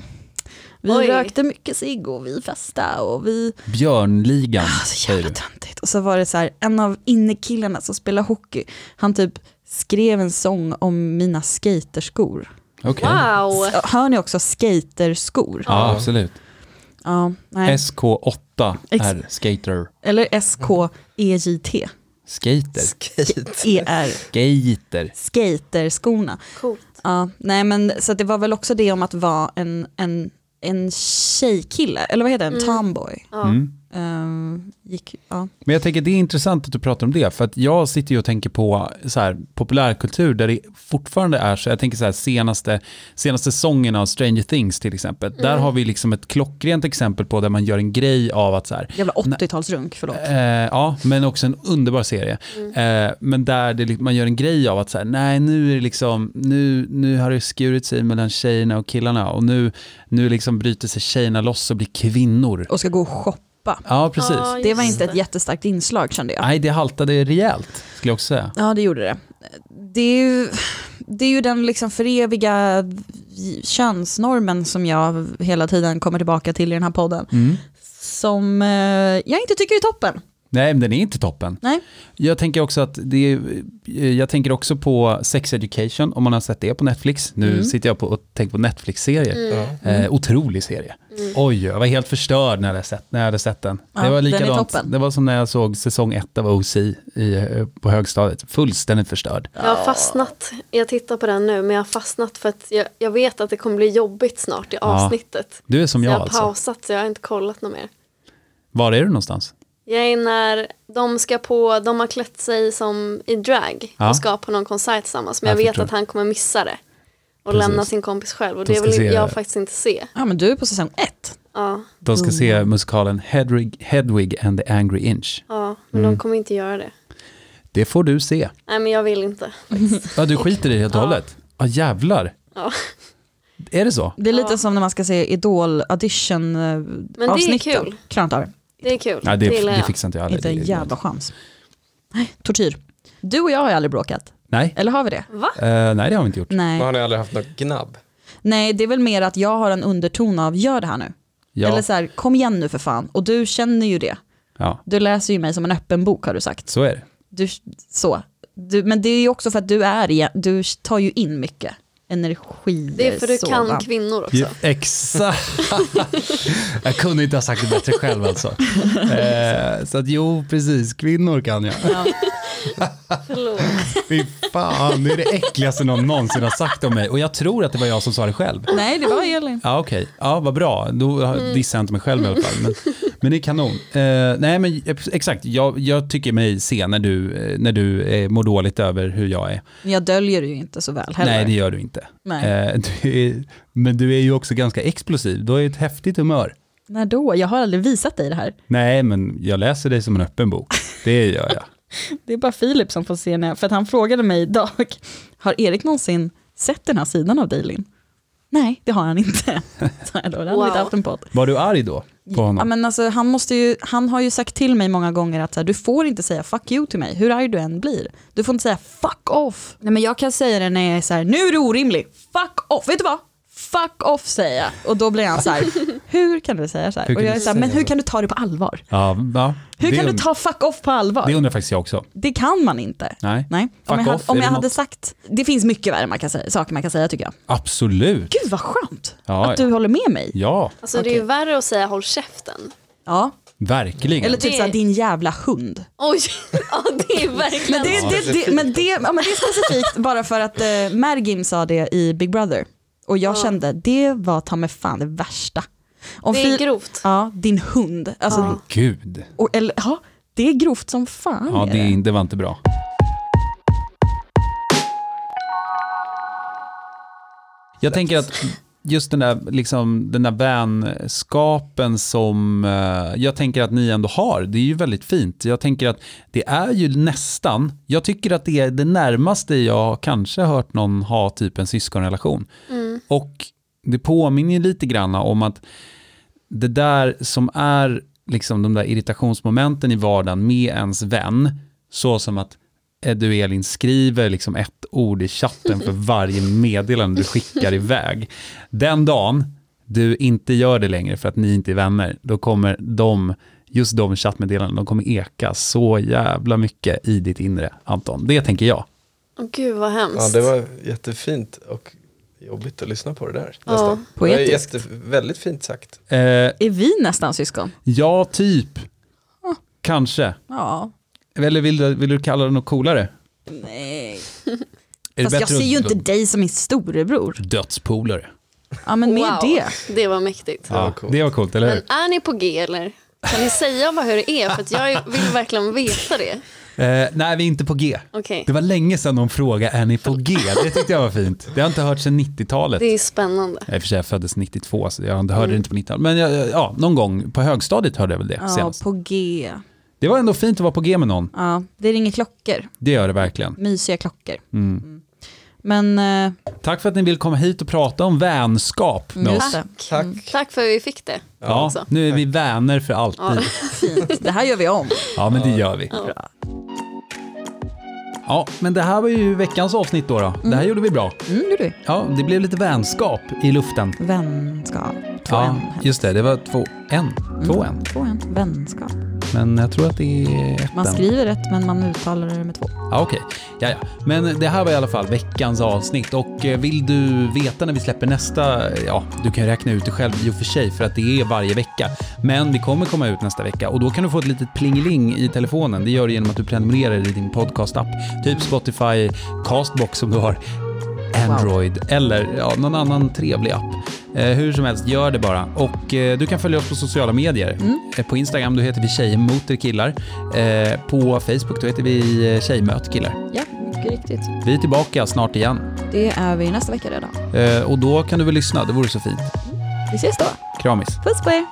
[SPEAKER 1] Vi
[SPEAKER 3] Oj.
[SPEAKER 1] rökte mycket cigg och vi festade och vi...
[SPEAKER 2] Björnligan
[SPEAKER 1] Ah, så
[SPEAKER 2] säger
[SPEAKER 1] jävla
[SPEAKER 2] du.
[SPEAKER 1] töntigt. Och så var det så här, en av innekillarna som spelar hockey, han typ skrev en sång om mina skaterskor.
[SPEAKER 2] Okej.
[SPEAKER 3] Wow!
[SPEAKER 1] S- Hör ni också skaterskor? Ja,
[SPEAKER 2] Ja, absolut.
[SPEAKER 1] nej.
[SPEAKER 2] SK8R,
[SPEAKER 1] Ex-
[SPEAKER 2] skater.
[SPEAKER 1] Eller E S-K-E-J-T.
[SPEAKER 2] Skater.
[SPEAKER 4] Skate.
[SPEAKER 3] Mm.
[SPEAKER 1] E-R.
[SPEAKER 2] Skater.
[SPEAKER 1] E Skaterskorna.
[SPEAKER 3] Coolt.
[SPEAKER 1] Ja, nej men så att det var väl också det om att vara en, en, en tjejkille, eller vad heter det, en tomboy.
[SPEAKER 3] Ja.
[SPEAKER 2] Mm.
[SPEAKER 1] Ehm, gick, ja.
[SPEAKER 2] Men jag tänker det är intressant att du pratar om det, för att jag sitter ju och tänker på så här, populärkultur där det fortfarande är så, jag tänker så här senaste, senaste sången av Stranger Things till exempel,
[SPEAKER 1] Mm.
[SPEAKER 2] där har vi liksom ett klockrent exempel på där man gör en grej av att så här,
[SPEAKER 1] Jävla 80-talsrunk, förlåt.
[SPEAKER 2] Eh, ja, men också en underbar serie.
[SPEAKER 3] Mm.
[SPEAKER 2] Eh, men där det, li- man gör en grej av att så här, nej nu är det liksom, nu, nu har det skurit sig mellan tjejerna och killarna och nu, nu liksom bryter sig tjejerna loss och blir kvinnor.
[SPEAKER 1] Och ska gå och shoppa.
[SPEAKER 2] Ja, precis.
[SPEAKER 3] Ja,
[SPEAKER 1] Det var
[SPEAKER 3] just
[SPEAKER 1] inte ett jättestarkt inslag kände jag.
[SPEAKER 2] Nej, det haltade rejält skulle jag också säga.
[SPEAKER 1] Ja, det gjorde det. Det är ju, det är ju den liksom för eviga könsnormen som jag hela tiden kommer tillbaka till i den här podden.
[SPEAKER 2] Mm.
[SPEAKER 1] Som eh, jag inte tycker är toppen.
[SPEAKER 2] Nej, men den är inte toppen.
[SPEAKER 1] Nej.
[SPEAKER 2] Jag tänker också att det är, eh, jag tänker också på Sex Education, om man har sett det på Netflix. Nu sitter jag på och tänker på Netflix-serier. Eh, otrolig serie. Oj, jag var helt förstörd när jag hade sett, när jag hade sett den.
[SPEAKER 1] Ja,
[SPEAKER 2] det var
[SPEAKER 1] den är
[SPEAKER 2] likadant.
[SPEAKER 1] toppen.
[SPEAKER 2] Det var som när jag såg säsong ett av OC i, eh, på högstadiet. Fullständigt förstörd.
[SPEAKER 3] Jag har fastnat, jag tittar på den nu, men jag har fastnat för att jag, jag vet att det kommer bli jobbigt snart i avsnittet.
[SPEAKER 2] Du är som
[SPEAKER 3] Så
[SPEAKER 2] jag,
[SPEAKER 3] jag har
[SPEAKER 2] alltså.
[SPEAKER 3] pausat, så jag har inte kollat något mer.
[SPEAKER 2] Var är du någonstans?
[SPEAKER 3] Jag är när de ska på, de har klätt sig som i drag
[SPEAKER 2] Ja.
[SPEAKER 3] och ska på någon konsert tillsammans, men
[SPEAKER 2] Jag
[SPEAKER 3] jag, vet
[SPEAKER 2] förstår.
[SPEAKER 3] att han kommer missa det och
[SPEAKER 2] Precis.
[SPEAKER 3] lämna sin kompis själv och
[SPEAKER 2] De
[SPEAKER 3] det
[SPEAKER 2] ska
[SPEAKER 3] vill
[SPEAKER 2] se-
[SPEAKER 3] jag faktiskt inte se.
[SPEAKER 1] Ja, men du är på säsong ett.
[SPEAKER 3] Ja,
[SPEAKER 2] De ska se musikalen Hedwig, Hedwig and the Angry Inch.
[SPEAKER 3] ja men
[SPEAKER 2] Mm.
[SPEAKER 3] de kommer inte göra det.
[SPEAKER 2] Det får du se.
[SPEAKER 3] Nej, men jag vill inte.
[SPEAKER 2] Ja, du skiter i det helt och hållet? Ja, jävlar.
[SPEAKER 3] Ja.
[SPEAKER 2] Är det så?
[SPEAKER 1] Det är lite som när man ska se
[SPEAKER 3] det är
[SPEAKER 1] Idol-audition-avsnitten.
[SPEAKER 3] kul.
[SPEAKER 1] Klarar inte av det.
[SPEAKER 3] Det är kul.
[SPEAKER 2] Nej, det,
[SPEAKER 3] gillar
[SPEAKER 2] det
[SPEAKER 3] jag.
[SPEAKER 2] fixar inte jag heller.
[SPEAKER 1] eh, Inte en
[SPEAKER 2] Det- det-
[SPEAKER 1] jävla chans. Nej, tortyr. Du och jag har ju aldrig bråkat.
[SPEAKER 2] Nej.
[SPEAKER 1] Eller har vi det?
[SPEAKER 3] Va?
[SPEAKER 2] Eh, nej, det har vi inte gjort.
[SPEAKER 1] Nej.
[SPEAKER 4] Men har ni aldrig haft något gnabb?
[SPEAKER 1] Nej, det är väl mer att jag har en underton av gör det här nu.
[SPEAKER 2] Ja.
[SPEAKER 1] Eller så här, kom igen nu för fan. Och du känner ju det.
[SPEAKER 2] Ja,
[SPEAKER 1] Du läser ju mig som en öppen bok har du sagt.
[SPEAKER 2] så är det.
[SPEAKER 1] Du, så. Du, men det är ju också för att du är, i- du tar ju in mycket energi.
[SPEAKER 3] Det är för du kan
[SPEAKER 1] sådant.
[SPEAKER 3] kvinnor också.
[SPEAKER 2] Ja, exakt. jag kunde inte ha sagt det bättre själv alltså. Eh, så att jo, precis, kvinnor kan jag.
[SPEAKER 1] Ja.
[SPEAKER 3] Förlåt.
[SPEAKER 2] Fy fan, det är det äckligaste någon någonsin har sagt om mig. Och jag tror att det var jag som sa det själv.
[SPEAKER 1] Nej, det var Elin.
[SPEAKER 2] Ja, okej. Ja, vad bra. Då har-
[SPEAKER 1] Mm.
[SPEAKER 2] dissar jag inte mig själv i alla fall. Men, men det är kanon. Eh, nej, men exakt. Jag, jag tycker mig se när du, eh, när du eh, mår dåligt över hur jag är.
[SPEAKER 1] Men jag döljer det ju inte så väl heller.
[SPEAKER 2] Nej, det gör du inte.
[SPEAKER 1] Nej.
[SPEAKER 2] Eh, du är, men du är ju också ganska explosiv. Du har ju ett häftigt humör.
[SPEAKER 1] När då? Jag har aldrig visat dig det här.
[SPEAKER 2] Nej, men jag läser dig som en öppen bok. Det gör jag.
[SPEAKER 1] Det är bara Filip som får se när jag, för att han frågade mig idag, har Erik någonsin sett den här sidan av dig Linn? Nej, det har han inte. Så jag då, det hade
[SPEAKER 3] Wow.
[SPEAKER 1] vi inte haft en podd.
[SPEAKER 2] Var du arg då på
[SPEAKER 1] Ja,
[SPEAKER 2] honom?
[SPEAKER 1] men alltså, han, måste ju, han har ju sagt till mig många gånger att så här, du får inte säga fuck you till mig, hur arg du än blir. Du får inte säga fuck off. Nej, men jag kan säga det när jag är så här, nu är du orimlig, fuck off, vet du vad? Fuck off säger jag. Och då blir han så här, hur kan du säga så här?
[SPEAKER 2] Hur kan
[SPEAKER 1] Och jag
[SPEAKER 2] du
[SPEAKER 1] är så här, men
[SPEAKER 2] säga
[SPEAKER 1] hur
[SPEAKER 2] så?"
[SPEAKER 1] kan du ta det på allvar?
[SPEAKER 2] Ja, ja.
[SPEAKER 1] Hur
[SPEAKER 2] Det
[SPEAKER 1] kan du
[SPEAKER 2] und-
[SPEAKER 1] ta fuck off på allvar?
[SPEAKER 2] Det undrar faktiskt jag också.
[SPEAKER 1] Det kan man inte.
[SPEAKER 2] Nej,
[SPEAKER 1] Nej.
[SPEAKER 2] Fuck
[SPEAKER 1] Om jag, hade,
[SPEAKER 2] off, är
[SPEAKER 1] om
[SPEAKER 2] det
[SPEAKER 1] jag hade
[SPEAKER 2] något?
[SPEAKER 1] sagt, det finns mycket värre man kan säga, saker man kan säga tycker jag.
[SPEAKER 2] absolut.
[SPEAKER 1] Gud vad skönt
[SPEAKER 2] Ja,
[SPEAKER 1] att du håller med mig.
[SPEAKER 2] Ja,
[SPEAKER 3] Alltså det är ju värre att säga håll käften.
[SPEAKER 1] Ja.
[SPEAKER 2] verkligen.
[SPEAKER 1] Eller typ
[SPEAKER 3] Det-
[SPEAKER 1] såhär, din jävla hund.
[SPEAKER 3] Oj, ja det är verkligen...
[SPEAKER 1] Men det, det, det, men det, ja, men det är specifikt bara för att eh, Mergim sa det i Big Brother. Och jag kände, det var ta mig fan det värsta. Om
[SPEAKER 3] Det är
[SPEAKER 1] fil-
[SPEAKER 3] grovt.
[SPEAKER 1] Ja, din hund. Alltså,
[SPEAKER 2] Gud.
[SPEAKER 1] och, eller, ja, det är grovt som fan.
[SPEAKER 2] Ja,
[SPEAKER 1] är
[SPEAKER 2] det, är in- det var inte bra. Jag tänker att just den där, liksom, den där vänskapen som eh, jag tänker att ni ändå har, det är ju väldigt fint. Jag tänker att det är ju nästan, jag tycker att det är det närmaste jag kanske har hört någon ha typ en syskonrelation. Och det påminner ju lite grann om att det där som är liksom de där irritationsmomenten i vardagen med ens vän, så som att eh, du Elin skriver liksom ett ord i chatten för varje meddelande du skickar iväg. Den dagen du inte gör det längre för att ni inte är vänner, då kommer de, just de chattmeddelandena, de kommer eka så jävla mycket i ditt inre, Anton. Det tänker jag.
[SPEAKER 3] Åh, Gud vad
[SPEAKER 4] Ja,
[SPEAKER 3] hemskt.
[SPEAKER 4] det var jättefint och jobbigt att lyssna på det där.
[SPEAKER 3] Ja.
[SPEAKER 4] Nästan.
[SPEAKER 1] Poetiskt.
[SPEAKER 4] Det var jätte, väldigt fint sagt.
[SPEAKER 2] Eh,
[SPEAKER 1] Är vi nästan syskon?
[SPEAKER 2] ja, typ.
[SPEAKER 1] Ah.
[SPEAKER 2] Kanske.
[SPEAKER 1] Ja.
[SPEAKER 2] Eller vill du, vill du kalla det något coolare? Är
[SPEAKER 1] Nej.
[SPEAKER 2] det
[SPEAKER 1] Fast jag
[SPEAKER 2] bättre
[SPEAKER 1] ser ju
[SPEAKER 2] att-
[SPEAKER 1] inte dig som min storebror.
[SPEAKER 2] Dödspolare.
[SPEAKER 1] Ja men mer
[SPEAKER 3] Wow,
[SPEAKER 1] det.
[SPEAKER 3] det var mäktigt.
[SPEAKER 4] Det var coolt.
[SPEAKER 2] det var coolt, eller hur?
[SPEAKER 3] Men är ni på G eller? Kan ni säga bara hur det är? För att jag vill verkligen veta det.
[SPEAKER 2] Eh, nej, vi är inte på G.
[SPEAKER 3] Okej,
[SPEAKER 2] Det var länge sedan någon frågade, är ni på G? Det tyckte jag var fint. Det har jag inte hört sedan 90-talet.
[SPEAKER 3] det är spännande.
[SPEAKER 2] Jag i och för sig jag föddes 92, så jag hörde det inte på 90-talet. Men jag, ja, någon gång på högstadiet hörde jag väl det
[SPEAKER 1] Ja,
[SPEAKER 2] senast.
[SPEAKER 1] på G.
[SPEAKER 2] Det var ändå fint att vara på G med någon.
[SPEAKER 1] Ja, det ringer klockor.
[SPEAKER 2] Det gör det verkligen.
[SPEAKER 1] Mysiga klockor. Mm. Men eh,
[SPEAKER 2] Tack för att ni vill komma hit och prata om vänskap med
[SPEAKER 1] just
[SPEAKER 2] oss.
[SPEAKER 1] det.
[SPEAKER 4] Tack.
[SPEAKER 3] Mm. Tack för att vi fick det.
[SPEAKER 2] Ja,
[SPEAKER 3] också.
[SPEAKER 2] nu är vi vänner för
[SPEAKER 3] Ja.
[SPEAKER 2] alltid.
[SPEAKER 1] Fint. Det här gör vi om.
[SPEAKER 2] Ja, men det gör vi.
[SPEAKER 1] Bra.
[SPEAKER 2] Ja, men det här var ju veckans avsnitt då. då. Det här gjorde vi bra.
[SPEAKER 1] Mm, gjorde vi.
[SPEAKER 2] Ja, det blev lite vänskap i luften.
[SPEAKER 1] Vänskap. Två
[SPEAKER 2] ja,
[SPEAKER 1] en. Mm.
[SPEAKER 2] just det. Det var två en. Två en.
[SPEAKER 1] Två en. Vänskap.
[SPEAKER 2] Men jag tror att det är ett
[SPEAKER 1] Man
[SPEAKER 2] än.
[SPEAKER 1] skriver rätt men man uttalar det med två.
[SPEAKER 2] Ja, okej. Ja, ja. Men det här var i alla fall veckans avsnitt och eh, vill du veta när vi släpper nästa, eh, ja, du kan ju räkna ut det själv i och för sig för att det är varje vecka. Men det kommer komma ut nästa vecka och då kan du få ett litet plingeling i telefonen. Det gör du genom att du prenumererar i din podcastapp, typ Spotify, Castbox om du har Android eller ja, någon annan trevlig app. Eh, hur som helst, gör det bara. Och eh, du kan följa oss på sociala medier. Eh, på Instagram, då heter vi Tjejer moter killar. Eh, på Facebook, då heter vi eh, Tjejmöt killar.
[SPEAKER 1] Ja, mycket riktigt.
[SPEAKER 2] Vi är tillbaka snart igen.
[SPEAKER 1] Det är vi nästa vecka redan.
[SPEAKER 2] Eh, och då kan du väl lyssna, det vore så fint.
[SPEAKER 1] Vi ses då.
[SPEAKER 2] Kramis.
[SPEAKER 1] Puss på er.